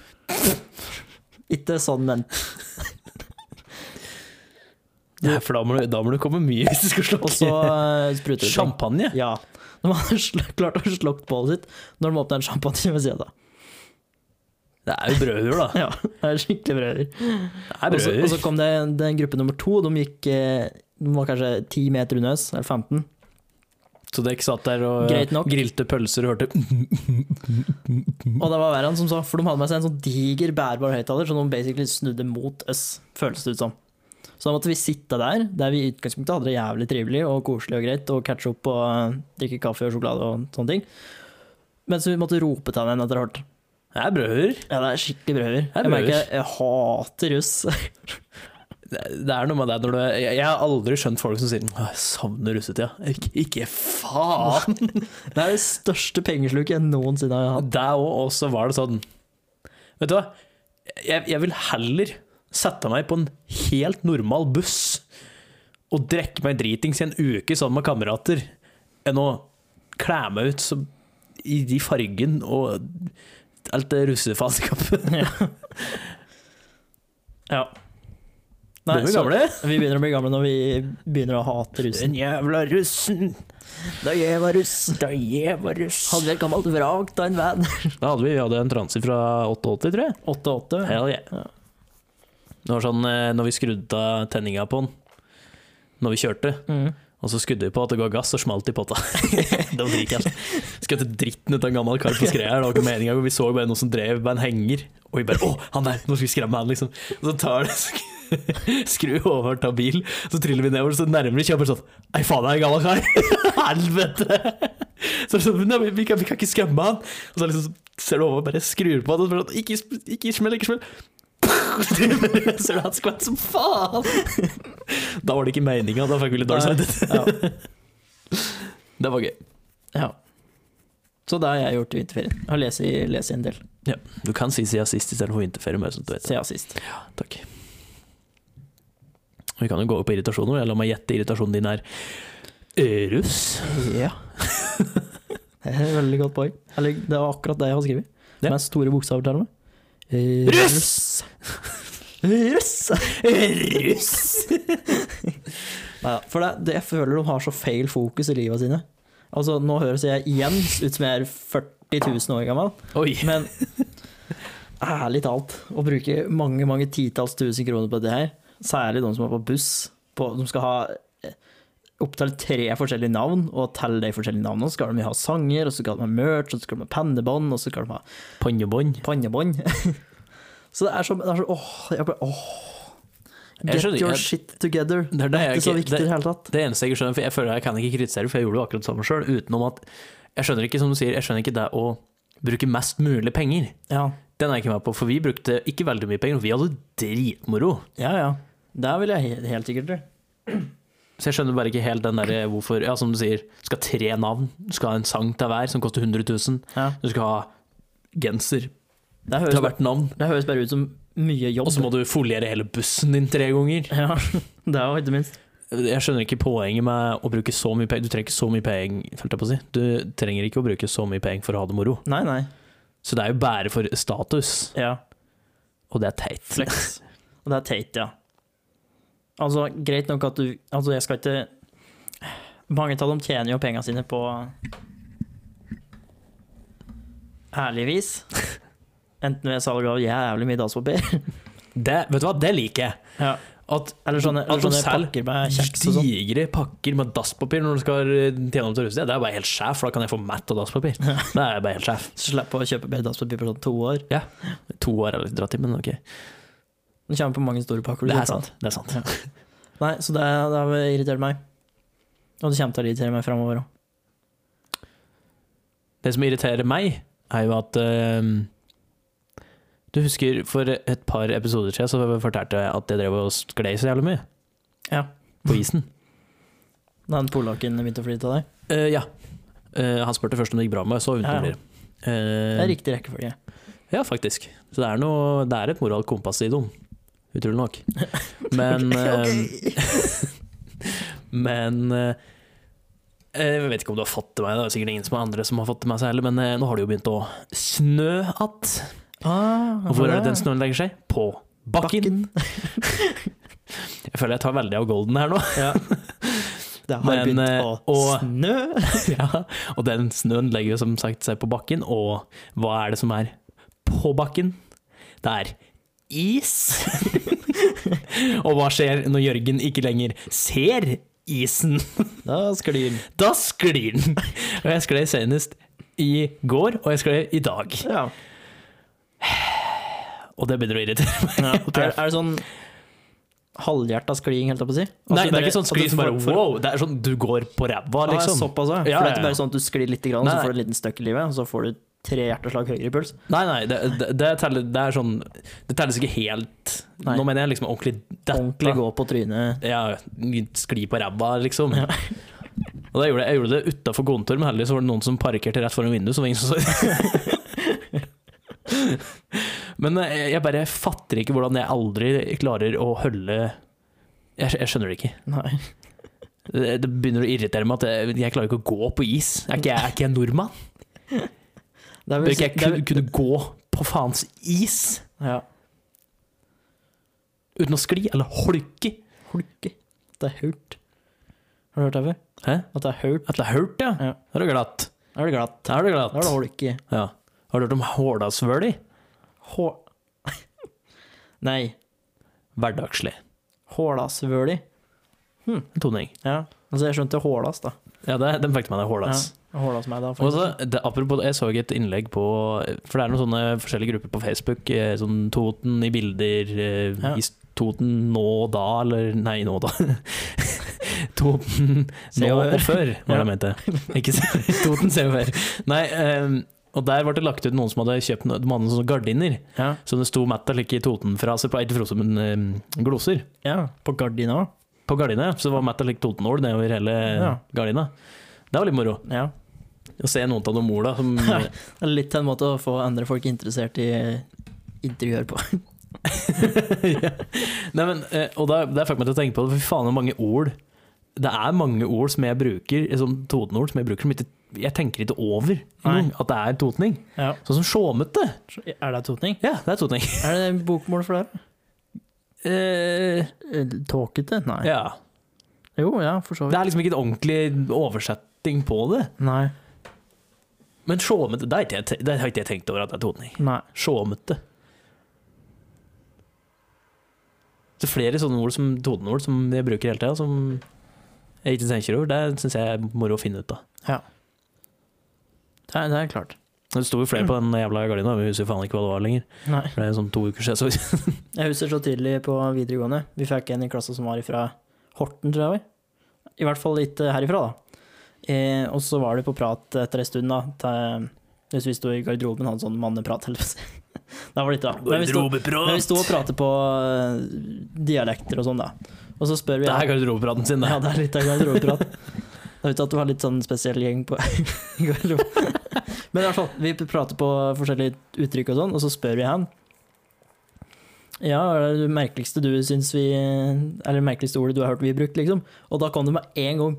Speaker 1: Ikke sånn, men.
Speaker 2: Nei, for da må, du, da må du komme mye hvis du skal
Speaker 1: Og
Speaker 2: slukke.
Speaker 1: så eh, spruter det. ting.
Speaker 2: Champagne?
Speaker 1: Ja. De hadde sl- klart å slukke bålet sitt når de åpna en champagne ved siden av.
Speaker 2: Det er jo brødhuer, da.
Speaker 1: Ja, det er skikkelig brøder.
Speaker 2: Det er
Speaker 1: Og så- og
Speaker 2: brødhuer.
Speaker 1: så kom det en det er en gruppe nummer to. De gikk eh, de var kanskje 10 meter unna oss, eller 15.
Speaker 2: Så dere satt der og
Speaker 1: Greit nok.
Speaker 2: grilte pølser og hørte «Mm,
Speaker 1: Og det var verre enn som så, for de hadde med seg en sånn diger bærbar høyttaler som de basically snudde mot oss, føles det ut som. Så da måtte vi sitte der, der vi i utgangspunktet hadde det jævlig trivelig og koselig og greit, og catch up og eh, drikke kaffe og sjokolade og sånne ting. Mens vi måtte rope til henne etter hvert.
Speaker 2: Det er brødhuer.
Speaker 1: Ja, det er skikkelig brøder.
Speaker 2: er
Speaker 1: Jeg merker
Speaker 2: brøder.
Speaker 1: jeg, jeg hater russ.
Speaker 2: Det det er noe med det når du Jeg, jeg har aldri skjønt folk som sier «Åh, 'jeg savner russetida'. Ikke, ikke faen!
Speaker 1: Det er det største pengesluket jeg noensinne har hatt.
Speaker 2: Det òg, og så var det sånn Vet du hva? Jeg, jeg vil heller sette meg på en helt normal buss og drikke meg dritings i en uke sammen med kamerater, enn å kle meg ut som i de fargen og alt det russefaenskapet.
Speaker 1: Ja.
Speaker 2: Nei,
Speaker 1: så-
Speaker 2: gamle.
Speaker 1: Vi begynner å bli gamle når vi begynner å hate russen.
Speaker 2: jævla russen,
Speaker 1: Da jeg var russ,
Speaker 2: da jeg var russ.
Speaker 1: hadde vi et gammelt vrak av en van.
Speaker 2: Da hadde vi, vi hadde en transe fra 88, tror jeg.
Speaker 1: 8-8.
Speaker 2: Hell yeah.
Speaker 1: Ja.
Speaker 2: Det var sånn eh, når vi skrudde av tenninga på den, når vi kjørte,
Speaker 1: Mm.
Speaker 2: og så skudde vi på at det ga gass og smalt i potta. det var dritkjent. Skjøtte dritten ut av en gammel kar på skreia. Det var ikke meninga. Vi så bare noen som drev med en henger, og vi bare 'Å, han der! Nå skal vi skremme han', liksom. Og så tar det sk- Skru over, ta bil, så triller vi nedover, så nærmer vi kjøper sånn Ei, faen, det er en gammel kar! Helvete! Så er det sånn, nei, men vi kan, vi kan ikke skremme han! Og så liksom ser du over og bare skrur på han, og så bare sånn Ikke, sp- ikke smell, ikke smell! Ser du han skvett som faen! Da var det ikke meninga, da fikk vi litt dårlig
Speaker 1: Nei.
Speaker 2: samvittighet.
Speaker 1: Ja.
Speaker 2: Det var gøy.
Speaker 1: ja. Så det har jeg gjort i vinterferien. Jeg Har lest, lest en del
Speaker 2: Du kan si siden sist istedenfor vinterferie, bare sånn at du vet det.
Speaker 1: siden sist.
Speaker 2: Takk. Vi kan jo gå opp på irritasjoner. Jeg lar meg gjette irritasjonen din er eh, russ.
Speaker 1: Ja. det er et veldig godt poeng. Eller det var akkurat det jeg har skrevet.
Speaker 2: Ja.
Speaker 1: Med store bokstaver til og med. Eh,
Speaker 2: Russ!
Speaker 1: Russ!
Speaker 2: Russ!
Speaker 1: Neida, for det, det, jeg føler de har så feil fokus i livet sine. Altså, nå høres jeg igjen ut som jeg er 40 000 år gammel,
Speaker 2: Oi.
Speaker 1: men ærlig talt, å bruke mange, mange titalls tusen kroner på det her, særlig de som er på buss, på, de skal ha eh, opptil tre forskjellige navn, og til de forskjellige navnene så skal de ha sanger, og så skal de ha merch, og så skal de ha pennebånd, og så skal de ha
Speaker 2: Pannebånd.
Speaker 1: pannebånd. så det er så, det er så åh, jeg bare, åh.
Speaker 2: Jeg
Speaker 1: Get
Speaker 2: skjønner,
Speaker 1: your
Speaker 2: jeg-
Speaker 1: shit together.
Speaker 2: Det er det
Speaker 1: Det
Speaker 2: jeg
Speaker 1: er så
Speaker 2: ikke-
Speaker 1: viktig i
Speaker 2: det-
Speaker 1: det hele tatt.
Speaker 2: Det eneste jeg ikke skjønner, for jeg føler jeg kan ikke kritisere, for jeg gjorde jo akkurat det samme sjøl, utenom at jeg skjønner ikke, som du sier, jeg skjønner ikke det å bruke mest mulig penger.
Speaker 1: Ja.
Speaker 2: Den er jeg ikke med på, for vi brukte ikke veldig mye penger, og vi hadde dritmoro.
Speaker 1: Ja, ja. Det vil jeg helt, helt sikkert gjøre.
Speaker 2: Så jeg skjønner bare ikke helt den derre hvorfor Ja, som du sier, du skal ha tre navn, du skal ha en sang til hver som koster 100 000,
Speaker 1: Ja.
Speaker 2: du skal ha genser
Speaker 1: Det, høres
Speaker 2: til
Speaker 1: bare,
Speaker 2: hvert navn,
Speaker 1: det høres bare ut som mye jobb.
Speaker 2: og så må du foliere hele bussen din tre ganger.
Speaker 1: Ja, det er jo ikke minst.
Speaker 2: Jeg skjønner ikke poenget med å bruke så mye penger. Du trenger ikke så mye penger, holdt jeg på å si. Du trenger ikke å bruke så mye penger for å ha det moro.
Speaker 1: Nei, nei.
Speaker 2: Så det er jo bare for status,
Speaker 1: Ja.
Speaker 2: og det er teit.
Speaker 1: Flex. Og det er teit, ja. Altså, greit nok at du Altså, jeg skal ikke Mange av dem tjener jo pengene sine på ærlig vis. Enten ved salg av jævlig mye dasspapir,
Speaker 2: Det, vet du hva, det liker jeg.
Speaker 1: Ja.
Speaker 2: At
Speaker 1: eller sånne, eller
Speaker 2: At de
Speaker 1: sånne pakker
Speaker 2: selger
Speaker 1: med kjeks og sånn.
Speaker 2: digre pakker med dasspapir når du skal eh, tjene opp til russetid, det er bare helt sjef, for da kan jeg få matt av dasspapir. Det er bare helt sjef.
Speaker 1: Slippe å kjøpe mer dasspapir på sånn to år.
Speaker 2: To år er litt dratt i, men ok.
Speaker 1: Det kommer på mange store pakker.
Speaker 2: Det
Speaker 1: vet
Speaker 2: er
Speaker 1: da.
Speaker 2: sant. Det er sant.
Speaker 1: Nei, så det, det har irritert meg. Og det kommer til å irritere meg framover òg.
Speaker 2: Det som irriterer meg, er jo at ehm, Du husker for et par episoder siden så fortalte jeg at jeg drev og sklei så jævlig mye
Speaker 1: Ja.
Speaker 2: på isen.
Speaker 1: Da den polakken begynte å fly til deg.
Speaker 2: Eh, ja. Eh, han spurte først om det gikk bra med meg, så
Speaker 1: Ja, ja.
Speaker 2: unntok det.
Speaker 1: Det er riktig rekkefølge.
Speaker 2: Ja, faktisk. Så det er, noe, det er et moralt kompass i dem, utrolig nok. Men eh,
Speaker 1: Ok.
Speaker 2: Men eh, Jeg vet ikke om du har fått det med deg, det er sikkert ingen som er andre som har fått det med seg heller, men eh, nå har det jo begynt å snø att.
Speaker 1: Ah,
Speaker 2: Og hvor er det
Speaker 1: ja.
Speaker 2: den snøen legger seg? På bakken. Jeg føler jeg tar veldig av golden her nå.
Speaker 1: Det har
Speaker 2: Men,
Speaker 1: begynt
Speaker 2: eh,
Speaker 1: å
Speaker 2: og-
Speaker 1: snø.
Speaker 2: ja, og den snøen legger jo som sagt seg på bakken, og hva er det som er på bakken? Det er is. og hva skjer når Jørgen ikke lenger ser isen?
Speaker 1: Da sklir den.
Speaker 2: Da sklir den. Og jeg sklei senest i går, og jeg sklei i dag.
Speaker 1: Ja.
Speaker 2: Og det begynner å irritere meg.
Speaker 1: Ja, Er, er det sånn halvhjerta skliding, helt opp å si? At du
Speaker 2: Nei, det er
Speaker 1: bare-
Speaker 2: ikke sånn
Speaker 1: at du
Speaker 2: skli som bare
Speaker 1: får- får-
Speaker 2: wow, det er sånn du går på ræva,
Speaker 1: Ah,
Speaker 2: liksom.
Speaker 1: såpass, ja.
Speaker 2: Ja,
Speaker 1: For det
Speaker 2: ja,
Speaker 1: er
Speaker 2: ja.
Speaker 1: ikke bare sånn at du sklir litt, grann,
Speaker 2: Nei,
Speaker 1: så får du en liten støkk i livet, og så får du tre hjerteslag høyere i puls.
Speaker 2: Nei, nei, det, det, det, teller, det er sånn Det telles ikke helt
Speaker 1: Nei.
Speaker 2: Nå mener jeg liksom ordentlig dette.
Speaker 1: Ordentlig gå på trynet.
Speaker 2: Ja, skli på ræva, liksom.
Speaker 1: Ja.
Speaker 2: Og da gjorde jeg, jeg gjorde det utafor kontoret, men heldigvis var det noen som parkerte rett foran vinduet. Så det var ingen som så Men eh, jeg bare fatter ikke hvordan jeg aldri klarer å holde Jeg, skj- jeg skjønner det ikke.
Speaker 1: Nei.
Speaker 2: Det det begynner å irritere meg at jeg, jeg klarer ikke å gå på is. Er ikke jeg, er ikke jeg nordmann?
Speaker 1: Det er
Speaker 2: Bør
Speaker 1: vel
Speaker 2: ikke
Speaker 1: det
Speaker 2: jeg
Speaker 1: er
Speaker 2: kunne,
Speaker 1: vel-
Speaker 2: kunne gå på faens is
Speaker 1: Ja.
Speaker 2: uten å skli eller holke?
Speaker 1: Holke. Det er hault. Har du hørt det før?
Speaker 2: Hæ?
Speaker 1: At det er hault?
Speaker 2: At det er hørt, ja?
Speaker 1: Ja.
Speaker 2: Da er du glatt.
Speaker 1: Da er det glatt.
Speaker 2: Da er
Speaker 1: Da er
Speaker 2: du
Speaker 1: det
Speaker 2: glatt.
Speaker 1: holke.
Speaker 2: Ja. Har du hørt om Hårdalsvøli?
Speaker 1: Hå... Nei.
Speaker 2: Hverdagslig.
Speaker 1: Hålasvøli.
Speaker 2: Toning.
Speaker 1: Ja. Altså, jeg skjønte hålas, da.
Speaker 2: Ja, det, den fikk meg det Hårdags.
Speaker 1: Hålas meg, da.
Speaker 2: Og
Speaker 1: faktisk.
Speaker 2: så, det, apropos det, jeg så et innlegg på For det er noen sånne forskjellige grupper på Facebook. eh, Sånn Toten i bilder, eh,
Speaker 1: Ja.
Speaker 2: is, Toten nå og da, eller Nei, nå og da. Toten
Speaker 1: Se
Speaker 2: nå
Speaker 1: og
Speaker 2: og
Speaker 1: hør.
Speaker 2: før, var det jeg mente. Ikke se, Toten se og hør. Nei, eh, og der ble det lagt ut noen som hadde kjøpt noen, de hadde noen sånne gardiner.
Speaker 1: Ja.
Speaker 2: Så det sto Matt Alike Toten-fraser altså, på Eid Frosum eh, gloser.
Speaker 1: ja. På gardina òg.
Speaker 2: På gardina, ja. så det var Matt Alike Toten-ål nedover hele
Speaker 1: Ja.
Speaker 2: gardina. Det var litt moro.
Speaker 1: Ja.
Speaker 2: Å se noen av de orda som
Speaker 1: Det er litt en måte å få andre folk interessert i interiør på.
Speaker 2: ja. Nei, men, eh, og da, det fikk meg til å tenke på det, for fy faen hvor mange ord Det er mange ord som jeg bruker, eh, sånn totenord som jeg bruker som ikke, jeg tenker ikke over
Speaker 1: Nei.
Speaker 2: at det er totning.
Speaker 1: Ja.
Speaker 2: Sånn som sjåmete.
Speaker 1: Er det totning?
Speaker 2: Ja, det er totning.
Speaker 1: Er det bokmål for det?
Speaker 2: Eh,
Speaker 1: her? Tåkete? Nei.
Speaker 2: ja.
Speaker 1: Jo, ja, for så
Speaker 2: Det
Speaker 1: vidt.
Speaker 2: er liksom ikke en ordentlig oversetting på det.
Speaker 1: Nei.
Speaker 2: Men sjåmete, det har ikke jeg te- det har ikke jeg tenkt over at det er totning.
Speaker 1: Nei.
Speaker 2: Sjåmete. Det er flere sånne ord som toneord som jeg bruker hele tida, som jeg ikke tenker over. Det syns jeg er moro å finne ut av.
Speaker 1: Det er, det er klart.
Speaker 2: Det sto jo flere på den jævla gardina, men jeg husker faen ikke hva det var lenger.
Speaker 1: Nei.
Speaker 2: For det er sånn to uker siden. Så.
Speaker 1: Jeg husker så tidlig på videregående. Vi fikk en i klassen som var fra Horten, tror jeg. det var. I hvert fall litt eh, herifra, da. Eh, og så var det på prat etter en stund, da. Til, hvis vi sto i garderoben, hadde sånn manneprat. holdt jeg på å si. Det var litt rart. Men vi sto- Men vi sto og pratet på eh, dialekter og sånn, da. Og så spør vi
Speaker 2: Det er garderobepraten sin, det.
Speaker 1: Ja, det er litt av garderobeprat. Jeg vet at du har litt sånn spesiell gjeng på i garderoben. Men i hvert fall, vi prater på forskjellige uttrykk og sånn, og så spør vi han. Ja, hva er det merkeligste du syns vi Eller det merkeligste ordet du har hørt vi brukt, liksom? Og da kom det med en gang.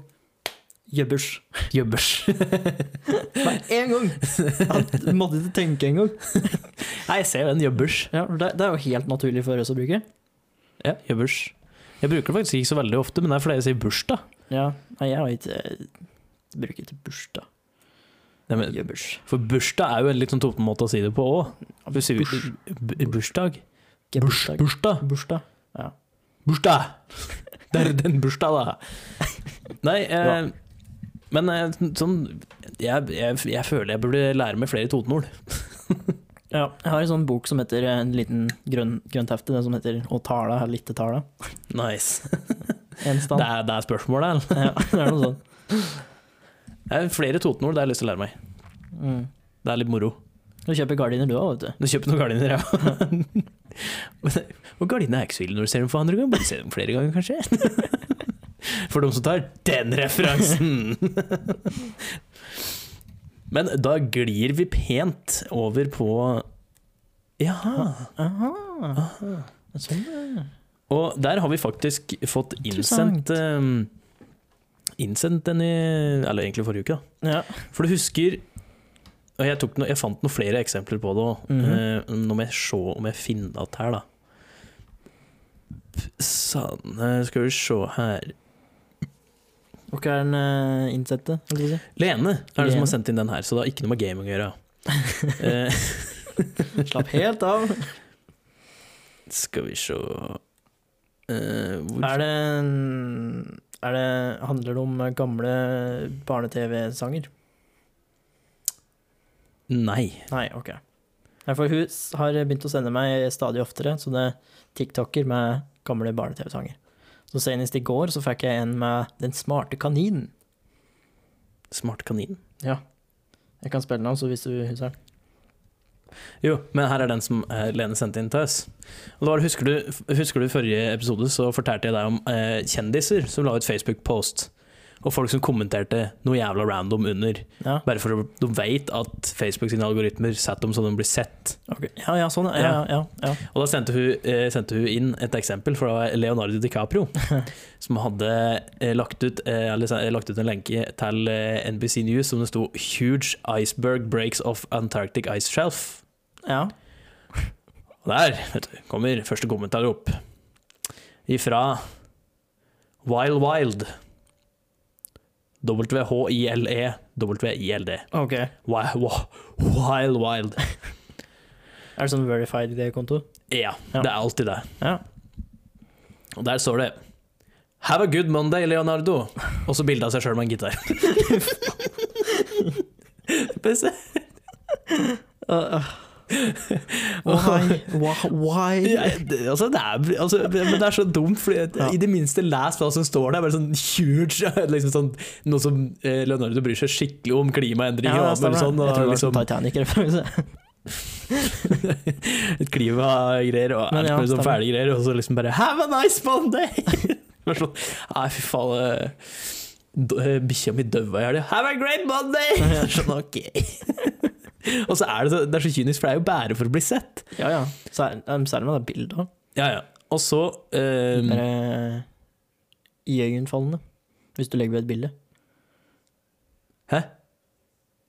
Speaker 1: Jøbbers.
Speaker 2: Jøbbers.
Speaker 1: Med en gang! Han måtte ikke tenke engang.
Speaker 2: Nei, jeg ser jo den jøbbers.
Speaker 1: Ja, for det, det er jo helt naturlig for oss å bruke.
Speaker 2: Ja, jøbbers. Jeg bruker det faktisk ikke så veldig ofte, men det er fordi jeg sier bursdag.
Speaker 1: Ja, nei, jeg har ikke jeg bruker ikke bursdag.
Speaker 2: Nei, men-
Speaker 1: Jøbbers.
Speaker 2: For bursdag er jo en litt sånn toppen måte å si det på òg. Bursdag.
Speaker 1: Ikke
Speaker 2: Burs-
Speaker 1: bursdag.
Speaker 2: Bursdag.
Speaker 1: Bursdag.
Speaker 2: Bursdag! Det er den bursdag, da. Nei, eh, men eh, sånn jeg, jeg, jeg føler jeg burde lære meg flere totenord.
Speaker 1: Ja, jeg har en sånn bok som heter en liten grønn, grønt hefte, den som heter Å tala, eller litte tala.
Speaker 2: Nice.
Speaker 1: En
Speaker 2: Det
Speaker 1: stand.
Speaker 2: er, det er spørsmålet, eller?
Speaker 1: Ja, det er noe sånt.
Speaker 2: Det er flere totenord det har jeg lyst til å lære meg.
Speaker 1: Mm.
Speaker 2: Det er litt moro.
Speaker 1: Du kjøper gardiner du òg, vet du.
Speaker 2: Du kjøper noen gardiner, ja. Og gardiner er ikke så ille når du ser dem for andre gang, bare se dem flere ganger, kanskje. For de som tar den referansen! Men da glir vi pent over på Jaha.
Speaker 1: Aha. Det er Sånn, ja.
Speaker 2: Og der har vi faktisk fått
Speaker 1: Interessant.
Speaker 2: innsendt eh, Innsendt den i Eller egentlig forrige uke, da.
Speaker 1: ja.
Speaker 2: For du husker og jeg, tok noe, jeg fant noen flere eksempler på det òg.
Speaker 1: Mhm.
Speaker 2: nå må jeg se om jeg finner at her, da. P- Sanne eh, Skal vi se her
Speaker 1: Og hva er den uh, innsette? holdt jeg på å si?
Speaker 2: Lene er det som
Speaker 1: Lene?
Speaker 2: har sendt inn den her, så det har ikke noe med gaming å gjøre. Eh,
Speaker 1: Slapp helt av.
Speaker 2: skal vi se Eh, hvor,
Speaker 1: Er det, er det Handler det om gamle barne-TV-sanger?
Speaker 2: Nei.
Speaker 1: Nei, OK. Nei, for hun s- har begynt å sende meg stadig oftere sånne TikToker med gamle barne-TV-sanger. Så senest i går så fikk jeg en med Den smarte kaninen.
Speaker 2: Smart kanin.
Speaker 1: Jeg kan spille den av, så hvis du husker den.
Speaker 2: Jo, men her er den som eh, Lene sendte inn til oss. Og da var det, husker, du, f- husker du forrige episode så fortalte jeg deg om eh, kjendiser som la ut Facebook-post, og folk som kommenterte noe jævla random under,
Speaker 1: Ja,
Speaker 2: bare for å- de vet at Facebook sine algoritmer setter dem så de blir sett.
Speaker 1: ok. ja, ja sånn. Ja, ja, ja. ja.
Speaker 2: Og da sendte hun, eh, sendte hun inn et eksempel fra Leonardo DiCaprio, som hadde eh, lagt, ut, eh, eller, sen- lagt ut en lenke til eh, NBC News som det sto 'Huge iceberg breaks off Antarctic ice shelf'.
Speaker 1: ja.
Speaker 2: Og der vet du, kommer første kommentar opp. Ifra Wild Wild. E, W-H-I-L-E-W-I-L-D.
Speaker 1: OK.
Speaker 2: Wild Wild.
Speaker 1: Er det sånn verified konto?
Speaker 2: E, Ja,
Speaker 1: Ja.
Speaker 2: det er alltid det.
Speaker 1: Ja.
Speaker 2: Og der står det Have a good Monday, Leonardo. Og så bilde av seg sjøl med en gitar. Best.
Speaker 1: Uh, uh. Why? Why? Why?
Speaker 2: Ja, det- altså, det er, altså, det- men det er så dumt, for
Speaker 1: Ja.
Speaker 2: i det minste les hva som står der. Bare sånn huge liksom sånn, Noe som eh, Leonardo bryr seg skikkelig om klimaendringer og alt mulig sånn.
Speaker 1: Jeg tror
Speaker 2: Og,
Speaker 1: det var sånn
Speaker 2: liksom,
Speaker 1: Titanic-referanse.
Speaker 2: klimagreier og
Speaker 1: Men
Speaker 2: alt
Speaker 1: ja,
Speaker 2: mulig sånn
Speaker 1: stemmer.
Speaker 2: fæle greier, og så liksom bare Have a nice Monday! Bare sånn, Nei, fy faen. eh, d- eh, Bikkja mi daua i helga. Have a great Monday! Sånn, ok. og så er det så, det er så kynisk, for det er jo bare for å bli sett.
Speaker 1: Ja, ja. Sær- um, Særlig med det bildet. også.
Speaker 2: Ja, ja. Og så eh,
Speaker 1: Mer eh, iøynefallende. Hvis du legger ved et bilde.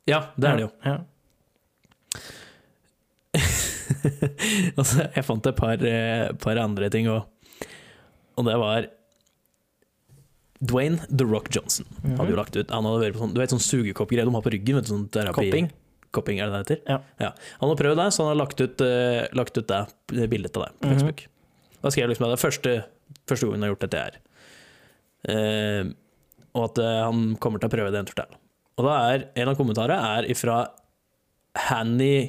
Speaker 2: Ja, det er det jo.
Speaker 1: Ja.
Speaker 2: altså, jeg fant et par, eh, par andre ting òg. Og det var Dwayne The Rock Johnson.
Speaker 1: Mhm.
Speaker 2: Hadde jo lagt ut, han hadde vært på sånn, du vet sånn sugekoppgreie de har på ryggen? Vet du, sånn terapi-
Speaker 1: Kopping.
Speaker 2: Kopping, er det det heter?
Speaker 1: Ja.
Speaker 2: Han har prøvd det, så han har lagt ut, eh, lagt ut det, det bildet av deg på
Speaker 1: Mhm.
Speaker 2: Facebook. Da skrev jeg liksom at det er første, første gangen jeg har gjort dette her. Eh, og at eh, han kommer til å prøve det en tur til. Og da er en av kommentarene er ifra Hanny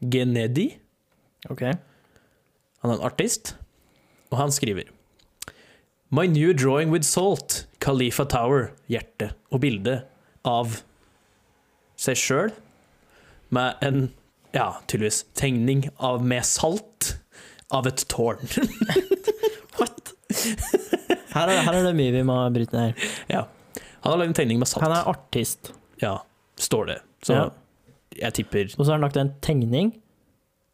Speaker 2: Genedi.
Speaker 1: Ok.
Speaker 2: Han er en artist, og han skriver My new drawing with salt, Khalifa Tower, hjerte og bilde av seg sjøl med en, ja, tydeligvis tegning av med salt av et tårn.
Speaker 1: Her er, her er det mye vi må bryte ned. her.
Speaker 2: Han har lagd en tegning med salt.
Speaker 1: Han er artist,
Speaker 2: Ja, står det. Så
Speaker 1: Ja.
Speaker 2: jeg tipper
Speaker 1: og så har han lagt en tegning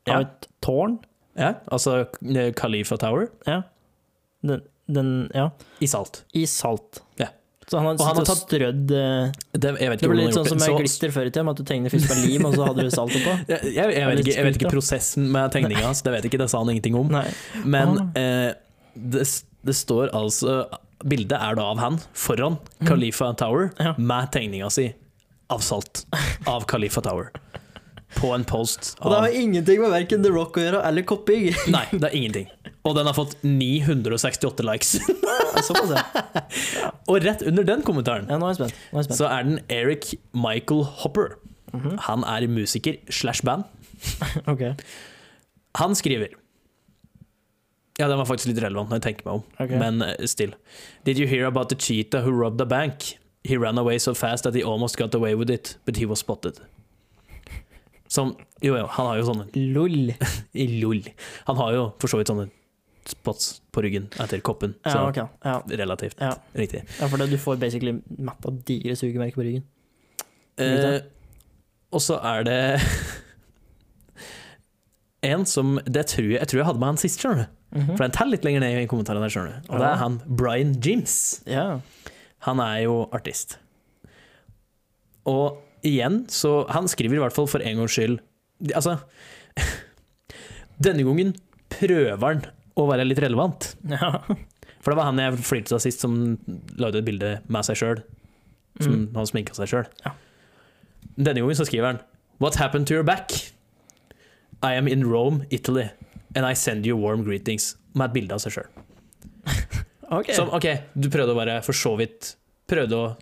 Speaker 2: Ja.
Speaker 1: av et tårn.
Speaker 2: Ja, altså eh, Khalifa Tower
Speaker 1: Ja. Den, den Ja.
Speaker 2: i salt.
Speaker 1: I salt.
Speaker 2: Ja.
Speaker 1: Så han har,
Speaker 2: Og han har
Speaker 1: sittet og strødd eh,
Speaker 2: Det, jeg vet
Speaker 1: Det
Speaker 2: ikke
Speaker 1: blir litt
Speaker 2: hvordan
Speaker 1: sånn som
Speaker 2: han har
Speaker 1: med
Speaker 2: gjort det. Så-
Speaker 1: glister før i tida, med at du tegner først med lim, og så hadde du salt oppå.
Speaker 2: Jeg, jeg, jeg, vet
Speaker 1: Litt
Speaker 2: ikke, jeg vet ikke
Speaker 1: skummelt, da.
Speaker 2: prosessen med tegninga hans, det vet jeg ikke, det sa han ingenting om.
Speaker 1: Nei.
Speaker 2: Men
Speaker 1: Ah.
Speaker 2: eh, det, det står altså Bildet er da av han foran Khalifa Tower
Speaker 1: Mm. Ja.
Speaker 2: med tegninga si av salt av Khalifa Tower. På en post
Speaker 1: Og det
Speaker 2: av
Speaker 1: har ingenting med verken The Rock å gjøre, eller Kopping.
Speaker 2: Nei, det er ingenting. Og den har fått 968 likes.
Speaker 1: Såpass, ja.
Speaker 2: Og rett under den kommentaren
Speaker 1: Ja, Mhm. nå er jeg spent. Nå er jeg spent.
Speaker 2: så er den Eric Michael Hopper. Han er musiker slash band.
Speaker 1: Ok.
Speaker 2: Han skriver Ja, den var faktisk litt relevant når jeg tenker meg om,
Speaker 1: Ok.
Speaker 2: men eh, still. Did you hear about the cheetah who robbed a bank? He ran away so fast that he almost got away with it, but he was spotted. Som Jo, jo, han har jo sånne
Speaker 1: Lol.
Speaker 2: Lol. Han har jo for så vidt sånne spots på ryggen etter koppen, så
Speaker 1: Ja, ok. Ja.
Speaker 2: relativt
Speaker 1: Ja.
Speaker 2: riktig.
Speaker 1: ja, for det, du får basically matta digre sugemerker på ryggen.
Speaker 2: Eh, og så er det en som det tror jeg, jeg tror jeg hadde med han sist, skjønner du.
Speaker 1: Mhm.
Speaker 2: For den teller litt lenger ned i kommentarene, der, skjønner du. Og det
Speaker 1: Ja.
Speaker 2: er han Brian Jims.
Speaker 1: Ja.
Speaker 2: Han er jo artist. Og igjen, så Han skriver i hvert fall for en gangs skyld Altså Denne gangen prøver han å være litt relevant.
Speaker 1: ja.
Speaker 2: For det var han jeg flirte av sist, som lagde et bilde med seg sjøl. Som
Speaker 1: Mm.
Speaker 2: han sminka seg sjøl.
Speaker 1: Ja.
Speaker 2: Denne gangen så skriver han What happened to your back? I am in Rome, Italy, and I send you warm greetings. Med et bilde av seg sjøl.
Speaker 1: Ok.
Speaker 2: Som OK, du prøvde å være for så vidt Prøvde å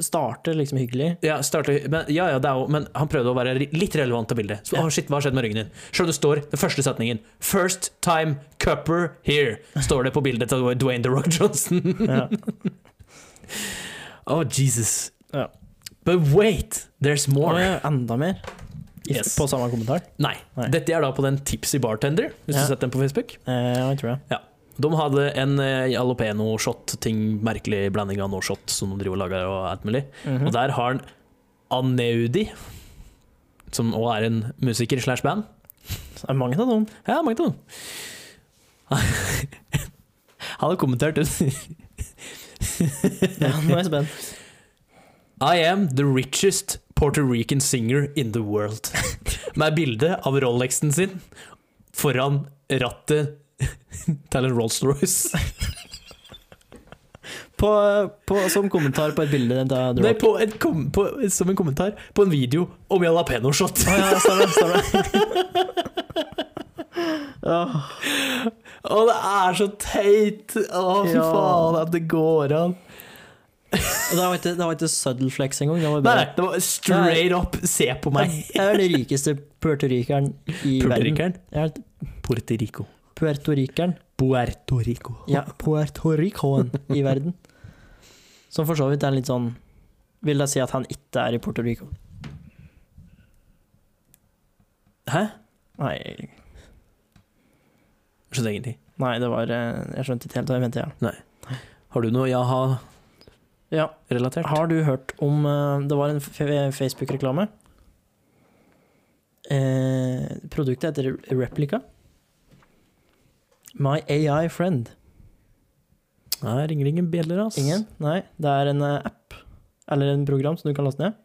Speaker 1: Starter liksom hyggelig.
Speaker 2: Ja, starte, men, ja, ja, det er jo, men han prøvde å være ri- litt relevant til bildet. Så,
Speaker 1: Ja.
Speaker 2: «Å, shit, hva har skjedd med ryggen din? Selv det står den første setningen First time cupper here, står det på bildet til Dwayne The Rock Johnson.
Speaker 1: Ja.
Speaker 2: oh, Jesus.
Speaker 1: Ja.
Speaker 2: But wait, there's more.
Speaker 1: Og enda mer. I-
Speaker 2: Yes.
Speaker 1: På samme kommentar.
Speaker 2: Nei.
Speaker 1: Nei.
Speaker 2: Dette er da på den Tipsy Bartender, hvis du
Speaker 1: Ja.
Speaker 2: har sett den på Facebook.
Speaker 1: Eh, ja, jeg tror det.
Speaker 2: De hadde en eh, jalapeno-shot-ting, merkelig blanding av no shot som de driver og lager og alt mulig.
Speaker 1: Mhm.
Speaker 2: Og der har han Aneudi, som også er en musiker slash band.
Speaker 1: Det er mange av dem.
Speaker 2: Ja, mange av dem. Han har kommentert den.
Speaker 1: Ja, nå er jeg spent.
Speaker 2: I am the richest Puerto Rican singer in the world. Med bilde av Rolexen sin foran rattet til en Rolls-Royce.
Speaker 1: På, på, som kommentar på et bilde av The
Speaker 2: Nei,
Speaker 1: Rock.
Speaker 2: på en kom på, som en kommentar på en video om jalapeno-shot.
Speaker 1: Å ja, stemmer det. Stemmer det. Åh,
Speaker 2: Og det er så teit! Å, fy
Speaker 1: Ja.
Speaker 2: faen, at det går an.
Speaker 1: og det var ikke, det var ikke subtle flex engang. Det var
Speaker 2: Nei,
Speaker 1: bare
Speaker 2: det var straight up 'se på meg'.
Speaker 1: Jeg er den rikeste puertorikeren i verden.
Speaker 2: Puertorikeren.
Speaker 1: Jeg er
Speaker 2: Puerto Rico.
Speaker 1: puertorikeren.
Speaker 2: Puerto Rico.
Speaker 1: Ja, puertoricoen i verden. Som for så vidt er litt sånn Vil jeg si at han ikke er i Puerto Rico?
Speaker 2: Hæ?
Speaker 1: Nei,
Speaker 2: Skjønner ingenting.
Speaker 1: nei det var eh, Jeg skjønte ikke helt hva jeg mente. Ja.
Speaker 2: Har du noe jaha-relatert?
Speaker 1: Ja. Har du hørt om eh, Det var en f- Facebook-reklame. Eh, produktet heter Replica. My AI Friend.
Speaker 2: Nei, ringer ingen bjeller, ass.
Speaker 1: Ingen? Nei. Det er en eh, app, eller en program, som du kan laste ned.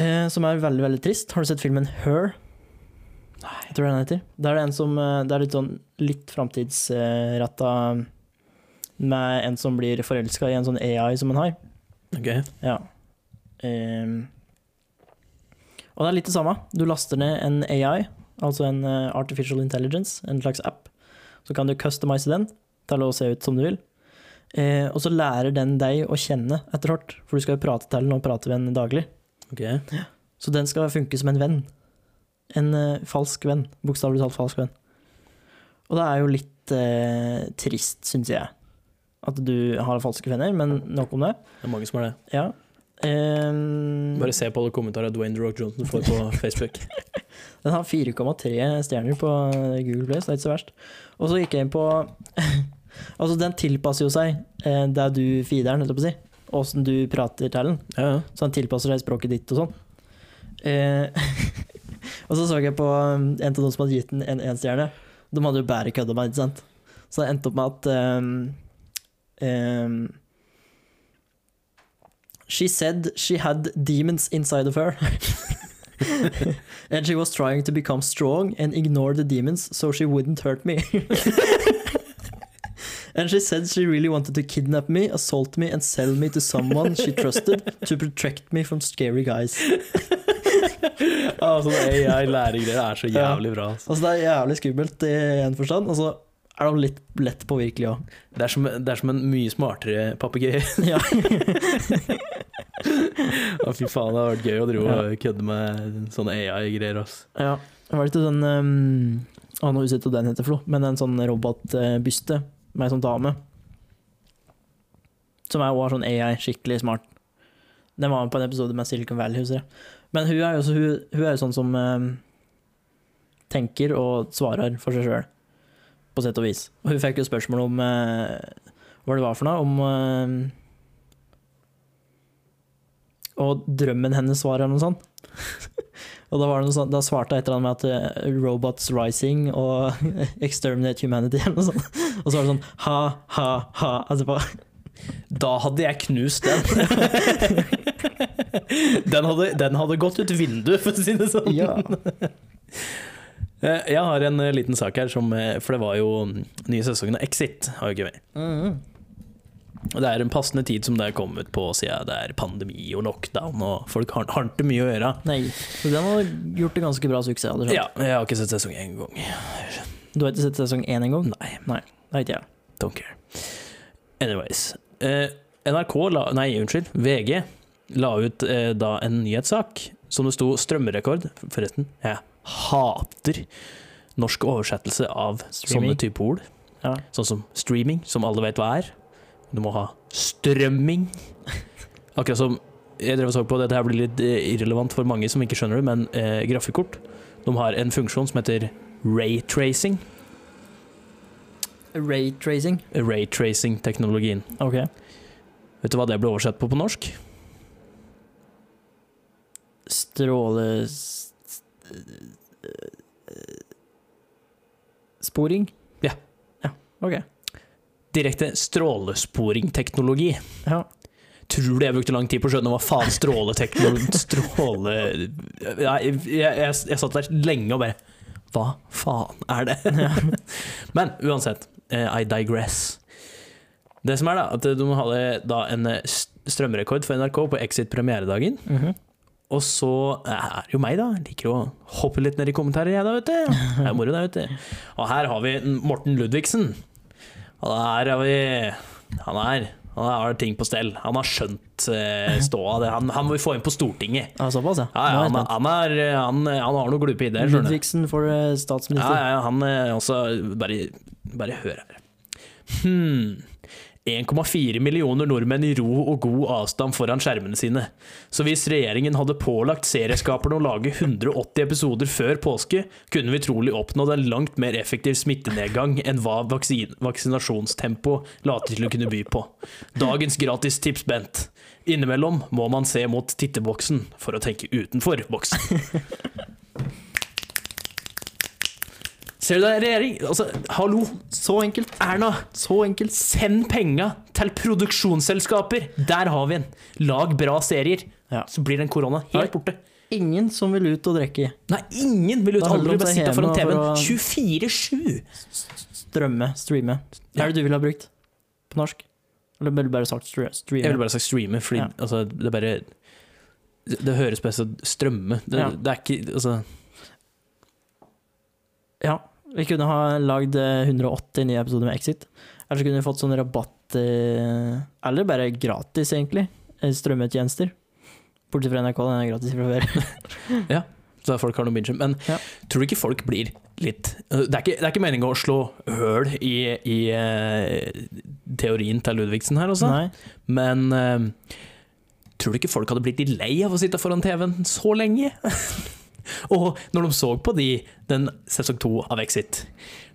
Speaker 1: Eh, som er veldig, veldig trist. Har du sett filmen Her? Nei. Jeg tror den heter. Der er det en som eh, Det er litt sånn litt framtidsretta med en som blir forelska i en sånn AI som han har.
Speaker 2: Ok.
Speaker 1: Ja. Ehm. og det er litt det samme. Du laster ned en AI, altså en eh, artificial intelligence, en slags app. Så kan du customize den til å se ut som du vil. Eh, og så lærer den deg å kjenne etter hvert, for du skal jo prate til den og prate med den daglig.
Speaker 2: Ok.
Speaker 1: Så den skal funke som en venn. En eh, falsk venn. Bokstavelig talt falsk venn. Og det er jo litt eh, trist, syns jeg, at du har falske venner, men nok om det.
Speaker 2: Det er mange som har det.
Speaker 1: Ja. Ehm,
Speaker 2: Bare se på alle kommentarer Dwayne The Rock Johnson får på Facebook.
Speaker 1: den har 4,3 stjerner på eh, Google Play, så det er ikke så verst. Og så gikk jeg inn på Altså, den tilpasser jo seg eh, det du feeder den, holdt jeg på å si. Åssen du prater til den.
Speaker 2: ja, ja.
Speaker 1: Så den tilpasser seg språket ditt og sånn. Eh, og så så jeg på um, en av de som hadde gitt den en enstjerne. De hadde jo bare kødda meg, ikke sant. Så det endte opp med at um, um, She said she had demons inside of her. and she was trying to become strong and ignore the demons so she wouldn't hurt me. And she said she really wanted to kidnap me, assault me, and sell me to someone she trusted to protect me from scary guys.
Speaker 2: altså, AI-læringgreier er så
Speaker 1: Ja.
Speaker 2: jævlig bra. ass.
Speaker 1: Altså, det er jævlig skummelt i en forstand, og så er de litt lett påvirkelige òg.
Speaker 2: Det er, som, det er som en mye smartere papegøye.
Speaker 1: Ja.
Speaker 2: Å, Fy faen, det har vært gøy å drive og kødde med sånne AI-greier. ass.
Speaker 1: ja. Var det ikke sånn um, Å, nå husker jeg ikke hva den heter, for noe, men en sånn robotbyste med ei sånn dame. Som er også sånn AI, skikkelig smart. Den var med på en episode med Silicon Valley, husker jeg. Men hun er jo, så, hun, hun er jo sånn som um, tenker og svarer for seg sjøl, på sett og vis. Og hun fikk jo spørsmål om eh, hva det var for noe, om eh, Og drømmen hennes var eller noe sånt. Og da, var det noe sånt, da svarte jeg et eller annet med at eh, 'Robots Rising' og 'Exterminate Humanity' eller noe sånt. Og så var det sånn ha, ha, ha altså etterpå.
Speaker 2: Da hadde jeg knust den. den, hadde, den hadde gått ut vinduet, for å si det sånn.
Speaker 1: Ja.
Speaker 2: Eh, Jeg har en eh, liten sak her, som, eh, for det var jo mm, nye sesongen av Exit. Har jo ikke vært.
Speaker 1: Mhm.
Speaker 2: Og Det er en passende tid som det er kommet på, siden det er pandemi og lockdown, og folk har, har ikke mye å gjøre.
Speaker 1: Nei, så den har gjort det ganske bra suksess. hadde jeg skjønt.
Speaker 2: Ja, jeg har ikke sett sesong én engang.
Speaker 1: Du har ikke sett sesong én engang?
Speaker 2: Nei,
Speaker 1: Nei, ikke jeg.
Speaker 2: don't care. Anyways. Eh, NRK la Nei, unnskyld. VG la ut eh, da en nyhetssak som det sto strømrekord. Forresten, jeg hater norsk oversettelse av
Speaker 1: Streaming.
Speaker 2: sånne type ord.
Speaker 1: Ja.
Speaker 2: Sånn som streaming, som alle vet hva er. Du må ha strømming. Akkurat som jeg drev og så på, dette her blir litt eh, irrelevant for mange som ikke skjønner det, men eh, grafikkort de har en funksjon som heter raytracing.
Speaker 1: Raytracing.
Speaker 2: Raytracing-teknologien.
Speaker 1: Ok.
Speaker 2: Vet du hva det ble oversett på på norsk?
Speaker 1: Stråle... s- s- Sporing?
Speaker 2: Ja.
Speaker 1: Ja, ok.
Speaker 2: Direkte strålesporingteknologi.
Speaker 1: Ja.
Speaker 2: Tror du jeg brukte lang tid på å skjønne hva faen stråleteknologi Stråle... Nei, jeg, jeg, jeg satt der lenge og bare Hva faen er det? Men uansett, eh, I digress. Det som er, da, at de hadde da en eh, st- strømrekord for NRK på Exit premieredagen.
Speaker 1: Mhm.
Speaker 2: Og så eh, er det jo meg, da. Jeg Liker å hoppe litt ned i kommentarer, jeg, da, vet du. Det er moro, det, vet du. Og her har vi Morten Ludvigsen. Og der har vi Han er Han har ting på stell. Han har skjønt eh, ståa. det. Han, han må vi få inn på Stortinget.
Speaker 1: Ja, såpass, ja. Nå er jeg
Speaker 2: Ja, ja, han,
Speaker 1: spent.
Speaker 2: han, er, han, han har noen glupe ideer, skjønner du.
Speaker 1: Ludvigsen for eh, statsminister.
Speaker 2: Ja, ja, ja, han eh, også Bare, bare hør her. Hmm. 1,4 millioner nordmenn i ro og god avstand foran skjermene sine. Så hvis regjeringen hadde pålagt serieskaperne å lage 180 episoder før påske, kunne vi trolig oppnådd en langt mer effektiv smittenedgang enn hva vaksin vaksinasjonstempo later til å kunne by på. Dagens gratistips, Bent. Innimellom må man se mot titteboksen for å tenke utenfor boksen. Ser du det, regjering? Altså, hallo!
Speaker 1: Så enkelt.
Speaker 2: Erna,
Speaker 1: Så enkelt.
Speaker 2: send penga til produksjonsselskaper! Der har vi en! Lag bra serier,
Speaker 1: Ja.
Speaker 2: så blir den korona
Speaker 1: Nei.
Speaker 2: helt borte.
Speaker 1: Ingen som vil ut og drikke.
Speaker 2: Nei, ingen vil ut!
Speaker 1: Da holder
Speaker 2: Alle vil
Speaker 1: de
Speaker 2: bare
Speaker 1: seg
Speaker 2: sitte
Speaker 1: hjemme
Speaker 2: foran TV-en
Speaker 1: for å-
Speaker 2: 24-7!
Speaker 1: Strømme. Streame. Hva er det du ville ha brukt på norsk? Eller ville du bare sagt stre- streame?
Speaker 2: Jeg ville bare sagt streame, fordi
Speaker 1: Ja.
Speaker 2: altså, det er bare Det høres best ut strømme. Det,
Speaker 1: Ja.
Speaker 2: det er ikke Altså,
Speaker 1: Ja. Vi kunne ha lagd eh, 180 nye episoder med Exit. Eller så kunne vi fått sånn rabatt eh, Eller bare gratis, egentlig. eh, Strømmetjenester. Bortsett fra NRK, den er gratis fra før.
Speaker 2: så folk har noe binge. Men
Speaker 1: Ja.
Speaker 2: tror du ikke folk blir litt altså, Det er ikke, det er ikke meninga å slå høl i, i eh, teorien til Ludvigsen her, altså.
Speaker 1: Nei.
Speaker 2: Men eh, tror du ikke folk hadde blitt litt lei av å sitte foran TV-en så lenge? Og når de så på de, den sesong to av Exit,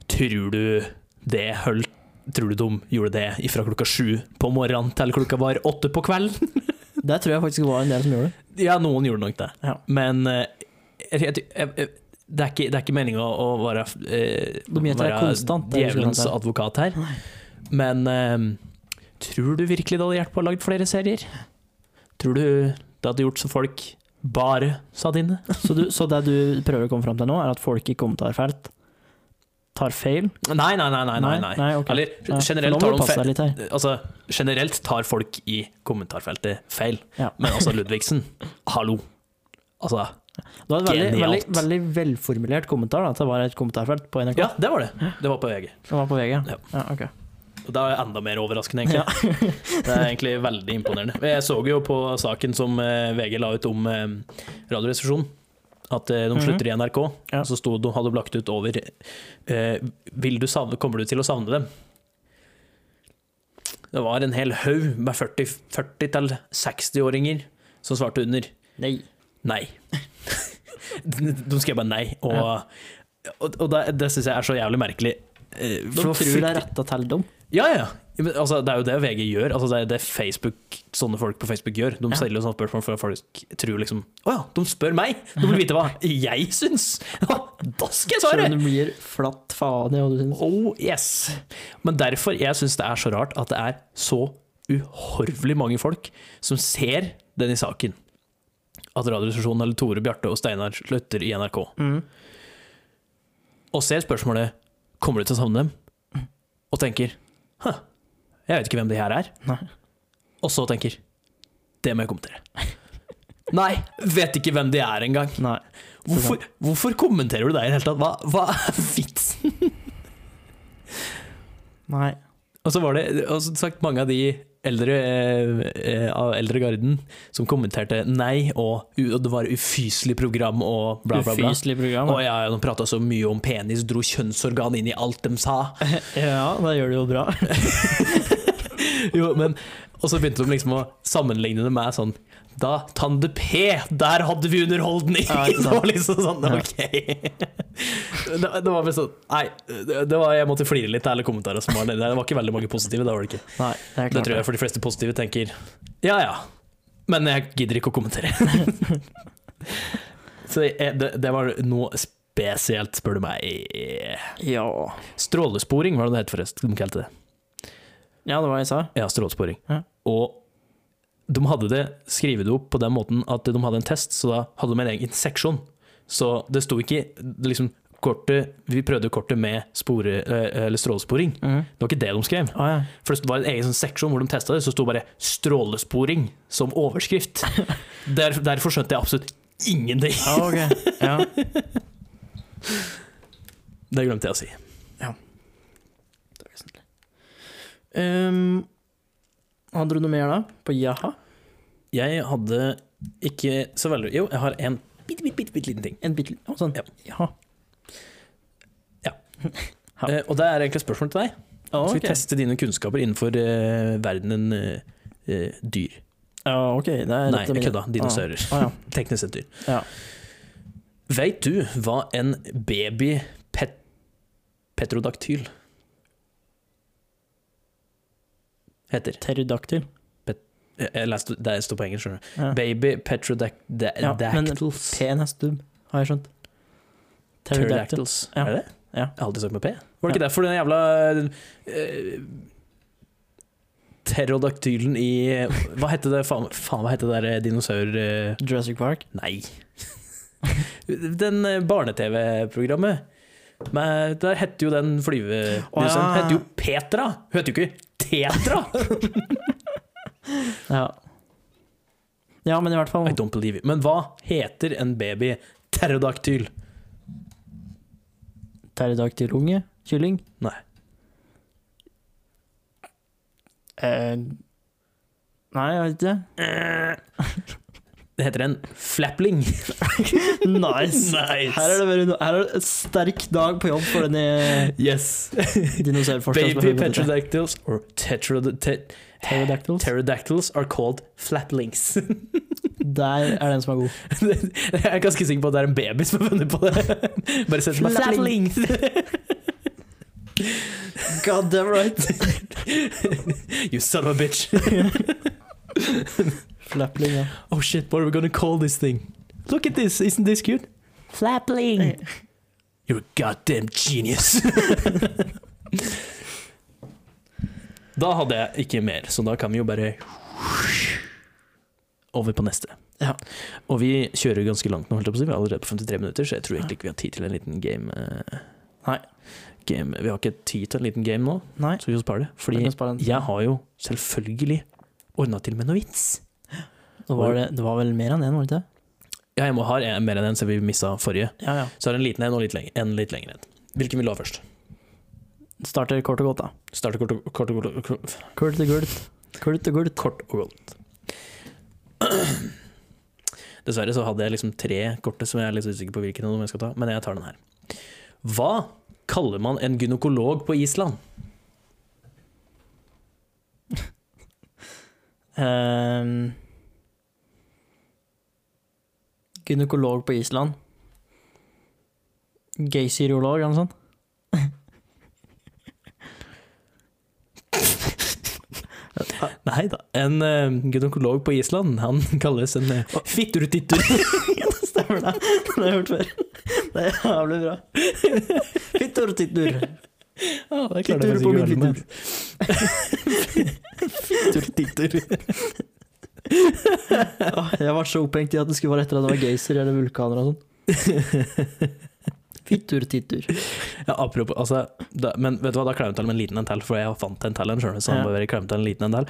Speaker 2: tror du det holdt? Tror du de gjorde det fra klokka sju på morgenen til klokka var åtte på kvelden?
Speaker 1: Der tror jeg faktisk det var en del som gjorde det.
Speaker 2: Ja, noen gjorde nok det.
Speaker 1: Ja.
Speaker 2: Men eh, jeg, jeg, jeg, det er ikke, det er ikke meninga å være, eh,
Speaker 1: De gjetter deg konstant, det er sånn det du
Speaker 2: djevelens
Speaker 1: skal si.
Speaker 2: advokat her. Men eh, tror du virkelig det hadde hjulpet å lage flere serier? Tror du det hadde gjort så folk bare satt inne?
Speaker 1: Så, du, så det du prøver å komme fram til nå, er at folk i kommentarfelt tar feil?
Speaker 2: Nei, nei, nei. nei, nei, nei.
Speaker 1: ok. Ja,
Speaker 2: Eller
Speaker 1: for nå
Speaker 2: generelt
Speaker 1: må
Speaker 2: tar,
Speaker 1: du
Speaker 2: de
Speaker 1: passe
Speaker 2: fe
Speaker 1: deg litt her.
Speaker 2: altså, generelt tar folk i kommentarfeltet feil.
Speaker 1: Ja.
Speaker 2: Men altså, Ludvigsen, hallo. Altså,
Speaker 1: Det var et veldig, veldig,
Speaker 2: Genialt.
Speaker 1: veldig velformulert kommentar. Da, at det var et kommentarfelt på NRK.
Speaker 2: ja, det var det. Det var på VG.
Speaker 1: Det var på VG.
Speaker 2: Ja.
Speaker 1: Ja. ok.
Speaker 2: Og Da er jeg enda mer overraskende, egentlig. det er egentlig veldig imponerende. Jeg så jo på saken som eh, VG la ut om eh, Radioresepsjonen, at eh, de
Speaker 1: Mhm.
Speaker 2: slutter i NRK.
Speaker 1: Ja.
Speaker 2: Og så sto, de hadde de lagt ut over eh, vil du savne, Kommer du til å savne dem? Det var en hel haug med 40-60-åringer som svarte under
Speaker 1: Nei.
Speaker 2: nei. De skrev bare nei. Og, og, og det, det syns jeg er så jævlig merkelig. eh,
Speaker 1: De
Speaker 2: for
Speaker 1: tror det
Speaker 2: frykt-
Speaker 1: er retta til dem.
Speaker 2: Ja, ja. Ja, Men, altså, det er jo det VG gjør. Altså, det er det Facebook, sånne folk på Facebook gjør. De
Speaker 1: Ja.
Speaker 2: selger jo sånne spørsmål for at folk tror liksom Å ja, de spør meg! De vil vite hva jeg syns! da skal jeg
Speaker 1: Selv
Speaker 2: svare!
Speaker 1: om du blir flatt faen i hva du syns.
Speaker 2: Oh yes! Men derfor jeg syns det er så rart at det er så uhorvelig mange folk som ser denne saken. At Radioresepsjonen eller Tore Bjarte og Steinar slutter i NRK.
Speaker 1: Mm.
Speaker 2: Og ser spørsmålet Kommer du til å savne dem? Og tenker Hæ, jeg vet ikke hvem de her er.
Speaker 1: Nei.
Speaker 2: Og så tenker Det må jeg kommentere. Nei, vet ikke hvem de er engang.
Speaker 1: Nei.
Speaker 2: Hvorfor, hvorfor kommenterer du det i det hele tatt? Hva, hva er vitsen?
Speaker 1: Nei.
Speaker 2: Og så var det og som sagt mange av de eldre eh, eh, av eldre garden som kommenterte nei, og, u- og det var ufyselig program og bla, bla, bla.
Speaker 1: Ufyselig program.
Speaker 2: Og ja, ja, de prata så mye om penis, dro kjønnsorgan inn i alt de sa.
Speaker 1: Ja, da gjør du jo bra.
Speaker 2: Jo, men, og så begynte de liksom å sammenligne det med sånn Da, Tande P, der hadde vi underholdning!
Speaker 1: Ja, ikke sant.
Speaker 2: det var liksom sånn,
Speaker 1: Ja.
Speaker 2: ok det, det var bare sånn Nei, det, det var, jeg måtte flire litt av alle kommentarene som var der. Det var ikke veldig mange positive, det var det ikke.
Speaker 1: Nei, det er klart.
Speaker 2: Det tror jeg for de fleste positive tenker Ja ja, men jeg gidder ikke å kommentere. Så jeg- det, det var noe spesielt, spør du meg.
Speaker 1: Ja.
Speaker 2: Strålesporing, var det det het forresten? De kalte det.
Speaker 1: ja, det var jeg sa.
Speaker 2: Ja, strålesporing.
Speaker 1: Ja.
Speaker 2: Og de hadde det skrevet det opp på den måten at de hadde en test, så da hadde de en egen seksjon. Så det sto ikke det liksom kortet, Vi prøvde kortet med spore, eh, eller strålesporing.
Speaker 1: Mhm.
Speaker 2: Det var ikke det de skrev.
Speaker 1: Å ja.
Speaker 2: For det var en egen sånn seksjon hvor de testa det, så sto bare 'strålesporing' som overskrift. Der, derfor skjønte jeg absolutt ingenting.
Speaker 1: Ja, ok. Ja.
Speaker 2: Det glemte jeg å si.
Speaker 1: Det er vesentlig. Ehm, hadde du noe mer da? På Jaha?
Speaker 2: Jeg hadde ikke så veldig Jo, jeg har en bitte, bitte, bitte, bitte liten ting.
Speaker 1: En bitte liten sånn.
Speaker 2: Ja.
Speaker 1: Jaha. Ja.
Speaker 2: Eh, og det er egentlig et spørsmål til deg.
Speaker 1: Ja,
Speaker 2: Skal
Speaker 1: ok.
Speaker 2: vi teste dine kunnskaper innenfor eh, verdenen eh, eh, dyr?
Speaker 1: Ja, ok. Det er
Speaker 2: Nei, jeg kødda.
Speaker 1: Dinosaurer.
Speaker 2: Dinosaurer.
Speaker 1: Ah, ah, ja.
Speaker 2: Teknisk sett dyr.
Speaker 1: Ja.
Speaker 2: Veit du hva en baby pet petrodaktyl heter?
Speaker 1: Pterodactyl.
Speaker 2: Jeg- Jeg leste, det står på engelsk, skjønner du.
Speaker 1: Ja.
Speaker 2: Baby petrodactyls.
Speaker 1: Ja, men P-en er stubb, har jeg skjønt. Pterodactyl.
Speaker 2: Pterodactyls.
Speaker 1: Ja.
Speaker 2: Er det det?
Speaker 1: Ja.
Speaker 2: Jeg har alltid sagt med P. Var det ikke derfor den jævla eh, Pterodaktylen i Hva hette det faen, faen hva hette det der dinosaur... eh,
Speaker 1: Jurassic Park.
Speaker 2: Nei. Den eh, barne-TV-programmet. Men der hette jo den
Speaker 1: Å,
Speaker 2: flyvemusen
Speaker 1: ja.
Speaker 2: Hette jo Petra! Hun heter jo ikke Tetra!
Speaker 1: Ja. ja, men i hvert fall
Speaker 2: I don't believe it. Men hva heter en baby pterodaktyl?
Speaker 1: Pterodactylunge? Kylling?
Speaker 2: Nei.
Speaker 1: Eh, nei, jeg vet ikke.
Speaker 2: Det heter en flapling.
Speaker 1: Nice.
Speaker 2: Nice.
Speaker 1: Her er det bare no- her er det en sterk dag på jobb for denne
Speaker 2: Yes.
Speaker 1: dinosaurforskeren. som
Speaker 2: Baby
Speaker 1: har funnet dette.
Speaker 2: petrodactyls or tetrod te
Speaker 1: Pterodactyls.
Speaker 2: pterodactyls are called flaplings.
Speaker 1: Der er den som er god.
Speaker 2: Jeg er ganske sikker på at det er en baby som har funnet på det. Bare sett meg
Speaker 1: Flapling.
Speaker 2: flaplings.
Speaker 1: God damn right.
Speaker 2: You son of a bitch.
Speaker 1: Flapling, ja.
Speaker 2: Oh shit, what are we gonna call this thing? Look at this, isn't this cute?
Speaker 1: Eh,
Speaker 2: Flapling! You're a goddamn genius! da hadde jeg ikke mer, så da kan vi jo bare over på neste.
Speaker 1: Ja.
Speaker 2: Og vi kjører ganske langt nå, holdt jeg på å si. Vi er allerede på 53 minutter, så jeg tror egentlig ikke vi har tid til en liten game. eh,
Speaker 1: Nei.
Speaker 2: game. Vi har ikke tid til en liten game nå,
Speaker 1: Nei.
Speaker 2: så vi får spare det.
Speaker 1: Jeg
Speaker 2: Fordi
Speaker 1: kan spare den.
Speaker 2: jeg har jo selvfølgelig ordna til med noe vits.
Speaker 1: Nå var det, det var vel mer enn én, var det ikke? det?
Speaker 2: Ja, jeg må ha en- mer enn en, så vi mista forrige.
Speaker 1: Ja, ja.
Speaker 2: Så er det en liten en og litt leng- en litt lengre en. Hvilken vil du ha først?
Speaker 1: Starter kort og godt, da.
Speaker 2: Starte kort og kort og kort. Og kort.
Speaker 1: Kult og gult. Kult og gult.
Speaker 2: kort, og godt. Dessverre så hadde jeg liksom tre korte som jeg er litt usikker på hvilken av dem jeg skal ta, men jeg tar den her. Hva kaller man en gynekolog på Island?
Speaker 1: Ehm, gynekolog på Island. Gaysyrolog eller noe sånt.
Speaker 2: Nei da. En eh, gynekolog på Island, han kalles en uh, fitturtittur.
Speaker 1: Det stemmer, det. Det har jeg hørt før. Det er jævlig bra. Fittur, tittur.
Speaker 2: Ja, det
Speaker 1: klarte jeg faktisk ikke å være med.
Speaker 2: Fittur, tittur.
Speaker 1: Åh, Ah, Jeg var så opphengt i at det skulle være etter at det var geyser eller vulkaner og sånn. Fittur, tittur.
Speaker 2: Ja, apropos, altså, da, men vet du hva, da klemte jeg med en liten en til, for jeg fant en til en, skjønner du, så han
Speaker 1: Ja.
Speaker 2: bare klemte en liten en til.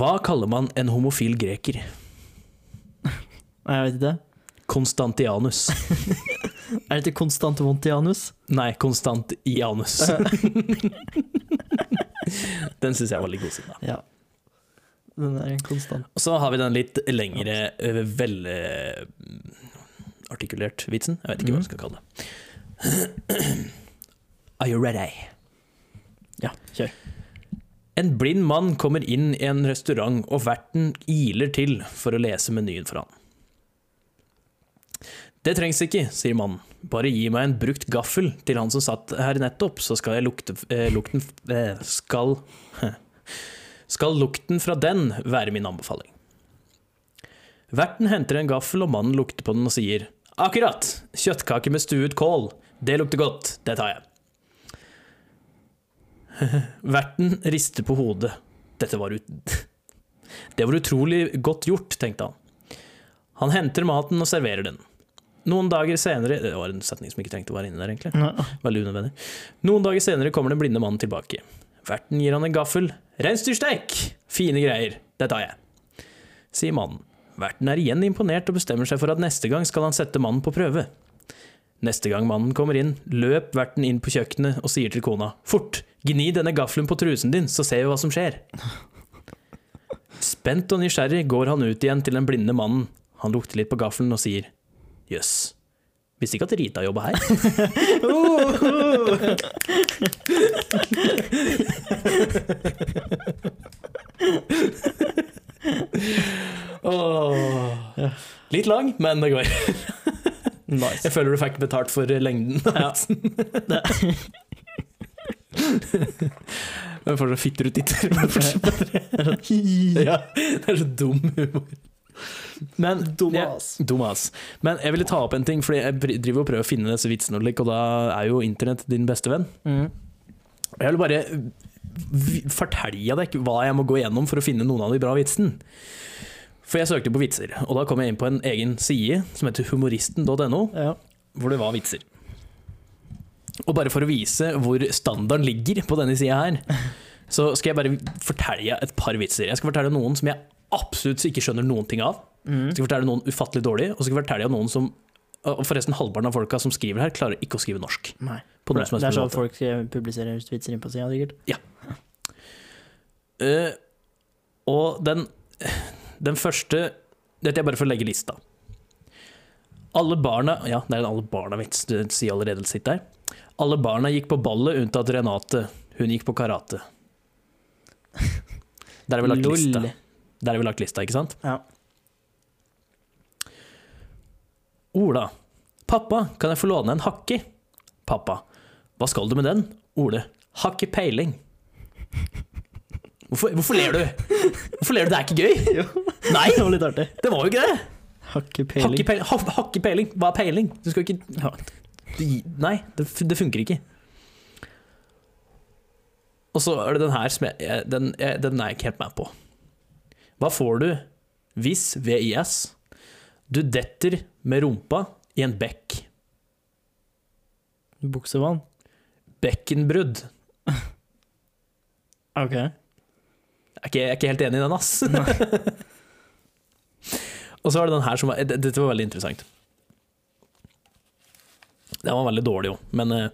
Speaker 2: Hva kaller man en homofil greker?
Speaker 1: Nei, jeg vet ikke.
Speaker 2: Konstantianus.
Speaker 1: Er det ikke konstant vondt i anus?
Speaker 2: Nei, Konstantianus. Den syns jeg var litt god siden, da.
Speaker 1: Ja. Den er en konstant.
Speaker 2: Og så har vi den litt lengre, eh, ø, vel ø, artikulert vitsen. Jeg vet ikke hva
Speaker 1: Mhm.
Speaker 2: jeg skal kalle det. Are you ready?
Speaker 1: Ja, kjør.
Speaker 2: En blind mann kommer inn i en restaurant, og verten iler til for å lese menyen for han. Det trengs ikke, sier mannen. Bare gi meg en brukt gaffel til han som satt her nettopp, så skal jeg lukte eh, lukten eh, skal, skal lukten fra den være min anbefaling. Verten henter en gaffel, og mannen lukter på den og sier Akkurat! Kjøttkake med stuet kål. Det lukter godt. Det tar jeg. Verten rister på hodet. Dette var ut... Det var utrolig godt gjort, tenkte han. Han henter maten og serverer den. Noen dager senere Det var en setning som ikke trengte å være inne der, egentlig. Veldig unødvendig. Noen dager senere kommer den blinde mannen tilbake. Verten gir han en gaffel. Reinsdyrsteik! Fine greier. Det tar jeg. Sier mannen. Verten er igjen imponert og bestemmer seg for at neste gang skal han sette mannen på prøve. Neste gang mannen kommer inn, løp verten inn på kjøkkenet og sier til kona Fort! Gni denne gaffelen på trusen din, så ser vi hva som skjer. Spent og nysgjerrig går han ut igjen til den blinde mannen. Han lukter litt på gaffelen og sier Jøss, visste ikke at Rita jobba her. Åh. Litt lang, men det går.
Speaker 1: Nice.
Speaker 2: Jeg føler du fikk betalt for lengden. Ja. Men får så fitter ut titter. Ja, det er så dum humor. Men
Speaker 1: Dumas.
Speaker 2: Dum ass. Men jeg ville ta opp en ting, Fordi jeg pri- driver og prøver å finne disse vitsene, og lik, og da er jo internett din beste venn.
Speaker 1: Mm.
Speaker 2: Og Jeg vil bare v- fortelle deg ikke hva jeg må gå gjennom for å finne noen av de bra vitsene. For jeg søkte på vitser, og da kom jeg inn på en egen side som heter humoristen.no,
Speaker 1: Ja.
Speaker 2: hvor det var vitser. Og bare for å vise hvor standarden ligger på denne sida her, så skal jeg bare fortelle et par vitser. Jeg skal fortelle noen som jeg absolutt ikke skjønner noen ting av.
Speaker 1: Mm.
Speaker 2: Jeg skal fortelle noen ufattelig dårlig, og så skal jeg fortelle noen som og forresten, halvparten av folka som skriver her, klarer ikke å skrive norsk.
Speaker 1: Nei.
Speaker 2: På noen som
Speaker 1: det er sånn
Speaker 2: helst
Speaker 1: at folk eh, publiserer vitser inn på sida, sikkert.
Speaker 2: Eh, og den, den første Dette er bare for å legge lista. Alle barna Ja, det er en alle barna-vits. Du sier allerede sitt der. Alle barna gikk på ballet unntatt Renate. Hun gikk på karate. Der har vi lagt lista. Der har vi lagt lista, ikke sant?
Speaker 1: Ja.
Speaker 2: Ola. Pappa, kan jeg få låne en hakke? Pappa. Hva skal du med den? Ole. Hakke peiling. Hvorfor, hvorfor ler du? Hvorfor ler du? Det er ikke gøy!
Speaker 1: Jo.
Speaker 2: Nei,
Speaker 1: Det var litt artig.
Speaker 2: det var jo ikke det!
Speaker 1: Hakke
Speaker 2: Hakke
Speaker 1: peiling.
Speaker 2: peiling. Ha- Hakke peiling. Hva er peiling? Du skal ikke ja. det- Nei, det, f- det funker ikke. Og så er det den her som jeg, jeg- den, jeg, den er jeg ikke helt med på. Hva får du hvis, VIS, du detter med rumpa i en bekk?
Speaker 1: Buksevann.
Speaker 2: Bekkenbrudd.
Speaker 1: Ok.
Speaker 2: Jeg er, ikke, jeg er ikke helt enig i den, ass. og så var det den her som var d- Dette var veldig interessant. Den var veldig dårlig, jo. Men eh,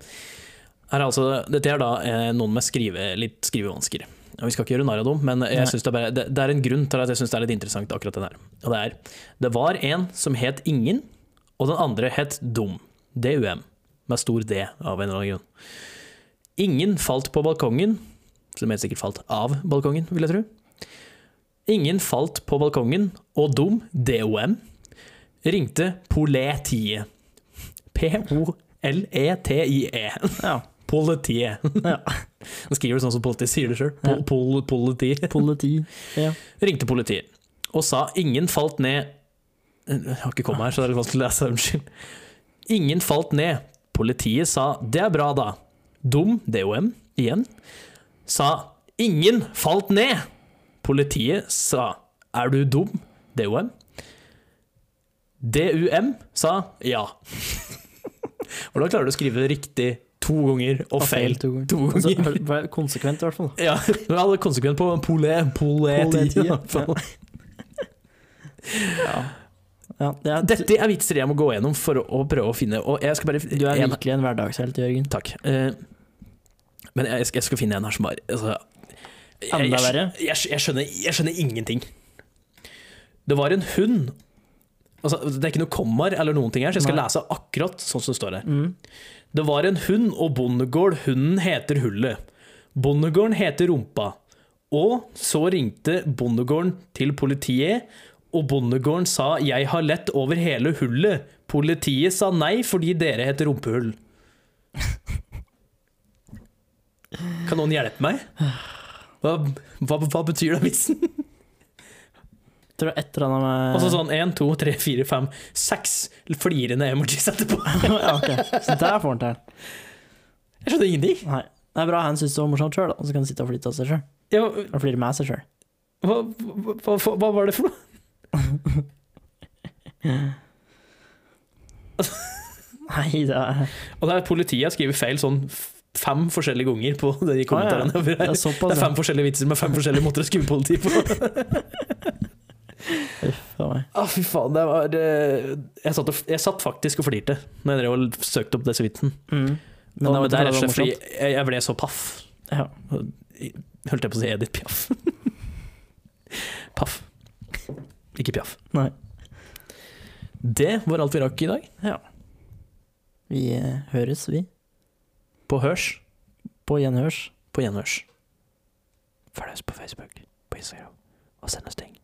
Speaker 2: her er altså, dette er da eh, noen med skrive, litt skrivevansker. Og vi skal ikke gjøre narr av dem, men
Speaker 1: Nei.
Speaker 2: jeg synes det, er bare, det, det er en grunn til at jeg syns det er litt interessant, akkurat den her. Og det er Det var en som het Ingen, og den andre het Dum. DUM. Med stor D, av en eller annen grunn. Ingen falt på balkongen, som helt sikkert falt av balkongen, vil jeg tro. Ingen falt på balkongen, og dum, DOM, E ringte Poletiet. P-O-L-E-T-I-E.
Speaker 1: Ja.
Speaker 2: Politiet.
Speaker 1: Ja.
Speaker 2: Han skriver det sånn som politiet sier det sjøl. Pol,
Speaker 1: Ja.
Speaker 2: pol, politi.
Speaker 1: Politi. Ja.
Speaker 2: Ringte politiet og sa ingen falt ned Jeg har ikke kommet her, så det er litt vanskelig å lese. Unnskyld. Ingen falt ned. Politiet sa det er bra, da. Dum, DOM, igjen, sa ingen falt ned. Politiet sa er du dum, DOM. DUM sa ja. Hvordan klarer du å skrive riktig to ganger og feil
Speaker 1: to ganger.
Speaker 2: to
Speaker 1: Altså,
Speaker 2: ganger?
Speaker 1: vær- vær konsekvent, i hvert fall.
Speaker 2: Ja, det hadde konsekvent på pole, poleti.
Speaker 1: Politi, ja.
Speaker 2: i hvert fall.
Speaker 1: Ja. Ja, det er,
Speaker 2: Dette er vitser jeg må gå gjennom for å, å prøve å finne Og jeg skal bare
Speaker 1: du er
Speaker 2: en,
Speaker 1: virkelig en hverdagshelt, Jørgen.
Speaker 2: Takk. Eh, men jeg, jeg skal, jeg skal finne en her som bare altså, jeg, jeg,
Speaker 1: Enda
Speaker 2: jeg,
Speaker 1: verre.
Speaker 2: jeg, jeg, skjønner, jeg skjønner ingenting. Det var en hund altså, Det er ikke noe kommaer eller noen ting her, så jeg skal
Speaker 1: Nei.
Speaker 2: lese akkurat sånn som det står her.
Speaker 1: Mm.
Speaker 2: Det var en hund og bondegård. Hunden heter Hullet. Bondegården heter Rumpa. Og så ringte bondegården til politiet, og bondegården sa 'jeg har lett over hele hullet'. Politiet sa nei fordi dere heter rumpehull. Kan noen hjelpe meg? Hva, hva, hva betyr den vitsen?
Speaker 1: Tror du et eller annet med
Speaker 2: Altså sånn én, to, tre, fire, fem, seks flirende emojis etterpå.
Speaker 1: ja, ok. Så der får han til.
Speaker 2: Jeg skjønner ingenting.
Speaker 1: Nei. Det er bra han syns det var morsomt sjøl, og så kan han sitte og flire av seg sjøl.
Speaker 2: Ja,
Speaker 1: Og flire med seg sjøl.
Speaker 2: hva, hva, hva, hva var det for noe?
Speaker 1: Nei, det er,
Speaker 2: Og det er politiet jeg skriver feil sånn f- fem forskjellige ganger på de kommentarene.
Speaker 1: Ah, ja.
Speaker 2: over
Speaker 1: det
Speaker 2: her.
Speaker 1: er såpass.
Speaker 2: Det er fem forskjellige vitser med fem forskjellige måter å skrive politi på.
Speaker 1: ja. Faen meg.
Speaker 2: Å, fy faen, det var eh, jeg satt, og, jeg satt faktisk og flirte når jeg drev og søkte opp disse vitsen.
Speaker 1: Mm.
Speaker 2: Men,
Speaker 1: da
Speaker 2: men
Speaker 1: vet du
Speaker 2: det
Speaker 1: hva
Speaker 2: er rett og slett fordi
Speaker 1: morsomt.
Speaker 2: jeg, jeg ble så paff.
Speaker 1: Ja.
Speaker 2: Holdt jeg på å si Edith Piaf. paff. Ikke Piaf.
Speaker 1: Nei.
Speaker 2: Det var alt vi rakk i dag.
Speaker 1: Vi eh, høres, vi.
Speaker 2: På hørs.
Speaker 1: På gjenhørs.
Speaker 2: På gjenhørs. Følg oss på Facebook, på Instagram, og send oss ting.